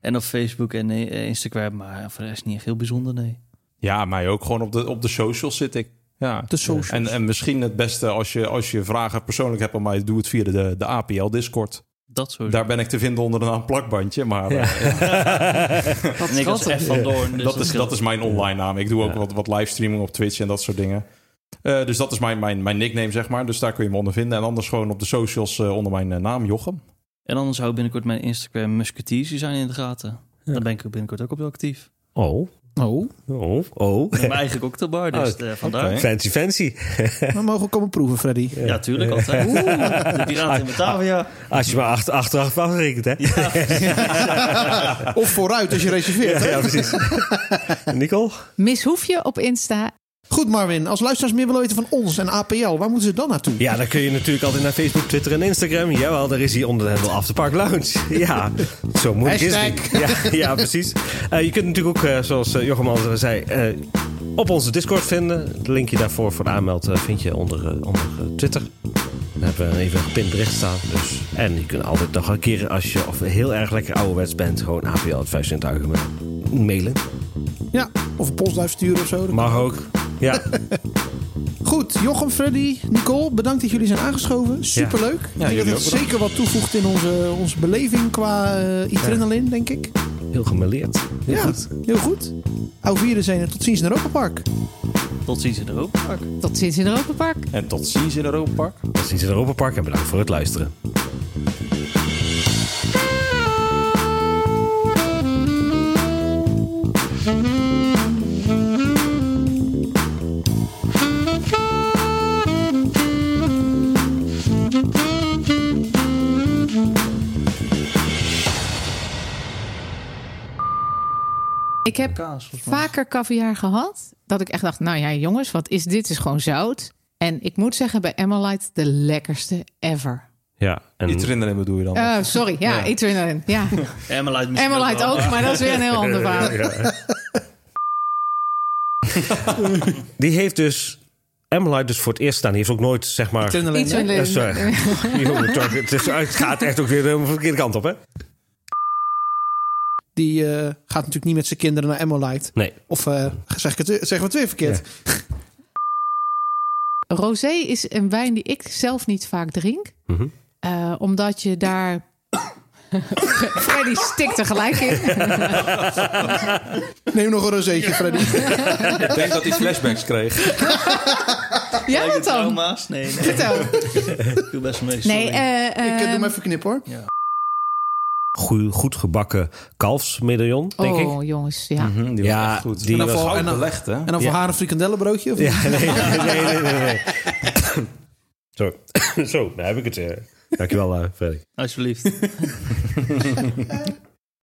S5: en op Facebook en eh, Instagram, maar voor de rest niet echt heel bijzonder, nee.
S4: ja, mij ook. Gewoon op de, op de socials zit ik. Ja.
S1: De socials.
S4: En, eh, en misschien het beste als je, als je vragen persoonlijk hebt aan mij, doe het via de, de APL Discord.
S5: Dat soort
S4: Daar ben ik te vinden onder een [laughs] naam plakbandje.
S2: [laughs]
S3: [laughs]
S4: Maar eh,
S5: En ik was F van Doorn. Dus
S4: dat, is, dat is mijn online naam. Ik doe ook wat, wat livestreaming op Twitch en dat soort dingen. Eh, dus dat is mijn, mijn, mijn nickname, zeg maar. Dus daar kun je me onder vinden. En anders gewoon op de socials eh, onder mijn eh, naam, Jochem.
S5: En anders hou ik binnenkort mijn Instagram musketeers, die zijn in de gaten.
S2: Ja.
S5: Dan ben ik ook binnenkort ook op wel
S4: [laughs]
S5: actief.
S2: Oh,
S1: Oh,
S2: oh, oh.
S5: Ik ben eigenlijk ook de bar, dus
S2: Oh,
S5: eh, vandaar.
S4: oké.
S2: Fancy, fancy.
S1: we mogen komen proeven, Freddy.
S5: Ja, Ah. tuurlijk, altijd. De piraten [laughs] in Batavia.
S2: Als je maar achter, achteraf afrekent, hè? Ja,
S1: Of vooruit als je reserveert. hè?
S2: precies. [laughs] Nicole?
S3: Mishoef je op Insta.
S1: Goed, Marvin. Als luisteraars meer willen weten van ons en APL, waar moeten ze dan naartoe?
S2: Ja, dan kun je natuurlijk altijd naar Facebook, Twitter en Instagram. Jawel, daar is hij onder de handel Afterpark Lounge. [laughs] Ja, zo moeilijk is het niet. [laughs] Ja, ja, precies. Eh, je kunt natuurlijk ook, eh, zoals eh, Jochem al zei, eh, op onze Discord vinden. Het linkje daarvoor voor de aanmeld eh, vind je onder, eh, onder eh, Twitter. Daar hebben we even een gepind bericht staan. Dus. En je kunt altijd nog een keer, als je of heel erg lekker ouderwets bent, gewoon APL het 5 cent argument mailen.
S1: Ja, Of een postduif sturen of zo.
S2: Mag ook. [laughs] Ja.
S1: Goed, Jochem, Freddy, Nicole, bedankt dat jullie zijn aangeschoven. Superleuk. ik denk
S4: jullie
S1: dat
S4: ook
S1: het
S4: bedankt.
S1: zeker wat toevoegt in onze, onze beleving qua eh adrenaline, denk ik.
S2: Heel gemêleerd. Heel
S1: ja,
S2: goed.
S1: heel goed. Au vieren zijn er. Tot ziens in Europa Park.
S5: Tot ziens in Europa.
S3: Tot ziens in Europa Park.
S4: En tot ziens in Europa Park.
S2: Dat is in Europa Park en bedankt voor het luisteren.
S3: Ik heb
S5: Kaas, volgens mij.
S3: vaker caviar gehad. Dat ik echt dacht, nou ja jongens, wat is dit? Het is gewoon zout. En ik moet zeggen, bij Emmerlite de lekkerste ever.
S2: Ja, en
S4: Iedereen bedoel je dan?
S3: Eh, sorry, ja, ja. Adrenaline.
S5: [laughs]
S3: Ja,
S5: Emmelite misschien
S3: Emmerlite
S5: wel.
S3: ook, maar dat is weer een heel
S5: [laughs]
S3: ander verhaal.
S2: [laughs] die heeft dus Emily dus voor het eerst staan. Die heeft ook nooit, zeg maar...
S1: Adrenaline.
S3: Adrenaline.
S2: Eh, sorry. Jongen, toch, het, is- het gaat echt ook weer de verkeerde kant op, hè?
S1: Die eh, gaat natuurlijk niet met zijn kinderen naar Emolite.
S2: Nee.
S1: Of eh, zeg ik het, zeggen we het weer verkeerd.
S3: Rosé is een wijn die ik zelf niet vaak drink.
S2: Mhm.
S3: Eh, omdat je daar Freddy stikt er gelijk in.
S1: Neem nog een rozeetje, Freddy.
S4: Ik denk dat hij flashbacks kreeg.
S3: Ja,
S5: Lijkt
S3: wat
S5: het
S3: dan?
S5: Trauma's? Nee, nee. [laughs]
S3: Vertel.
S5: Ik doe best mee.
S3: Nee,
S5: sorry.
S3: eh,
S1: Ik eh,
S3: eh,
S1: doe hem even knip hoor.
S2: Goed, goed gebakken kalfsmedaillon, denk ik. [laughs]
S3: Oh, jongens, ja.
S4: Hm, die
S2: Ja,
S4: was echt goed.
S2: die
S4: en dan
S2: was-
S4: goud
S1: en dan-
S4: belegd, hè?
S1: En dan voor haar een frikandellenbroodje? Of
S2: Ja, nee, nee, nee, nee. nee, nee. [coughs] Zo. [coughs] Zo, daar heb ik het. eh. Dankjewel, eh, Freddy.
S5: Alsjeblieft.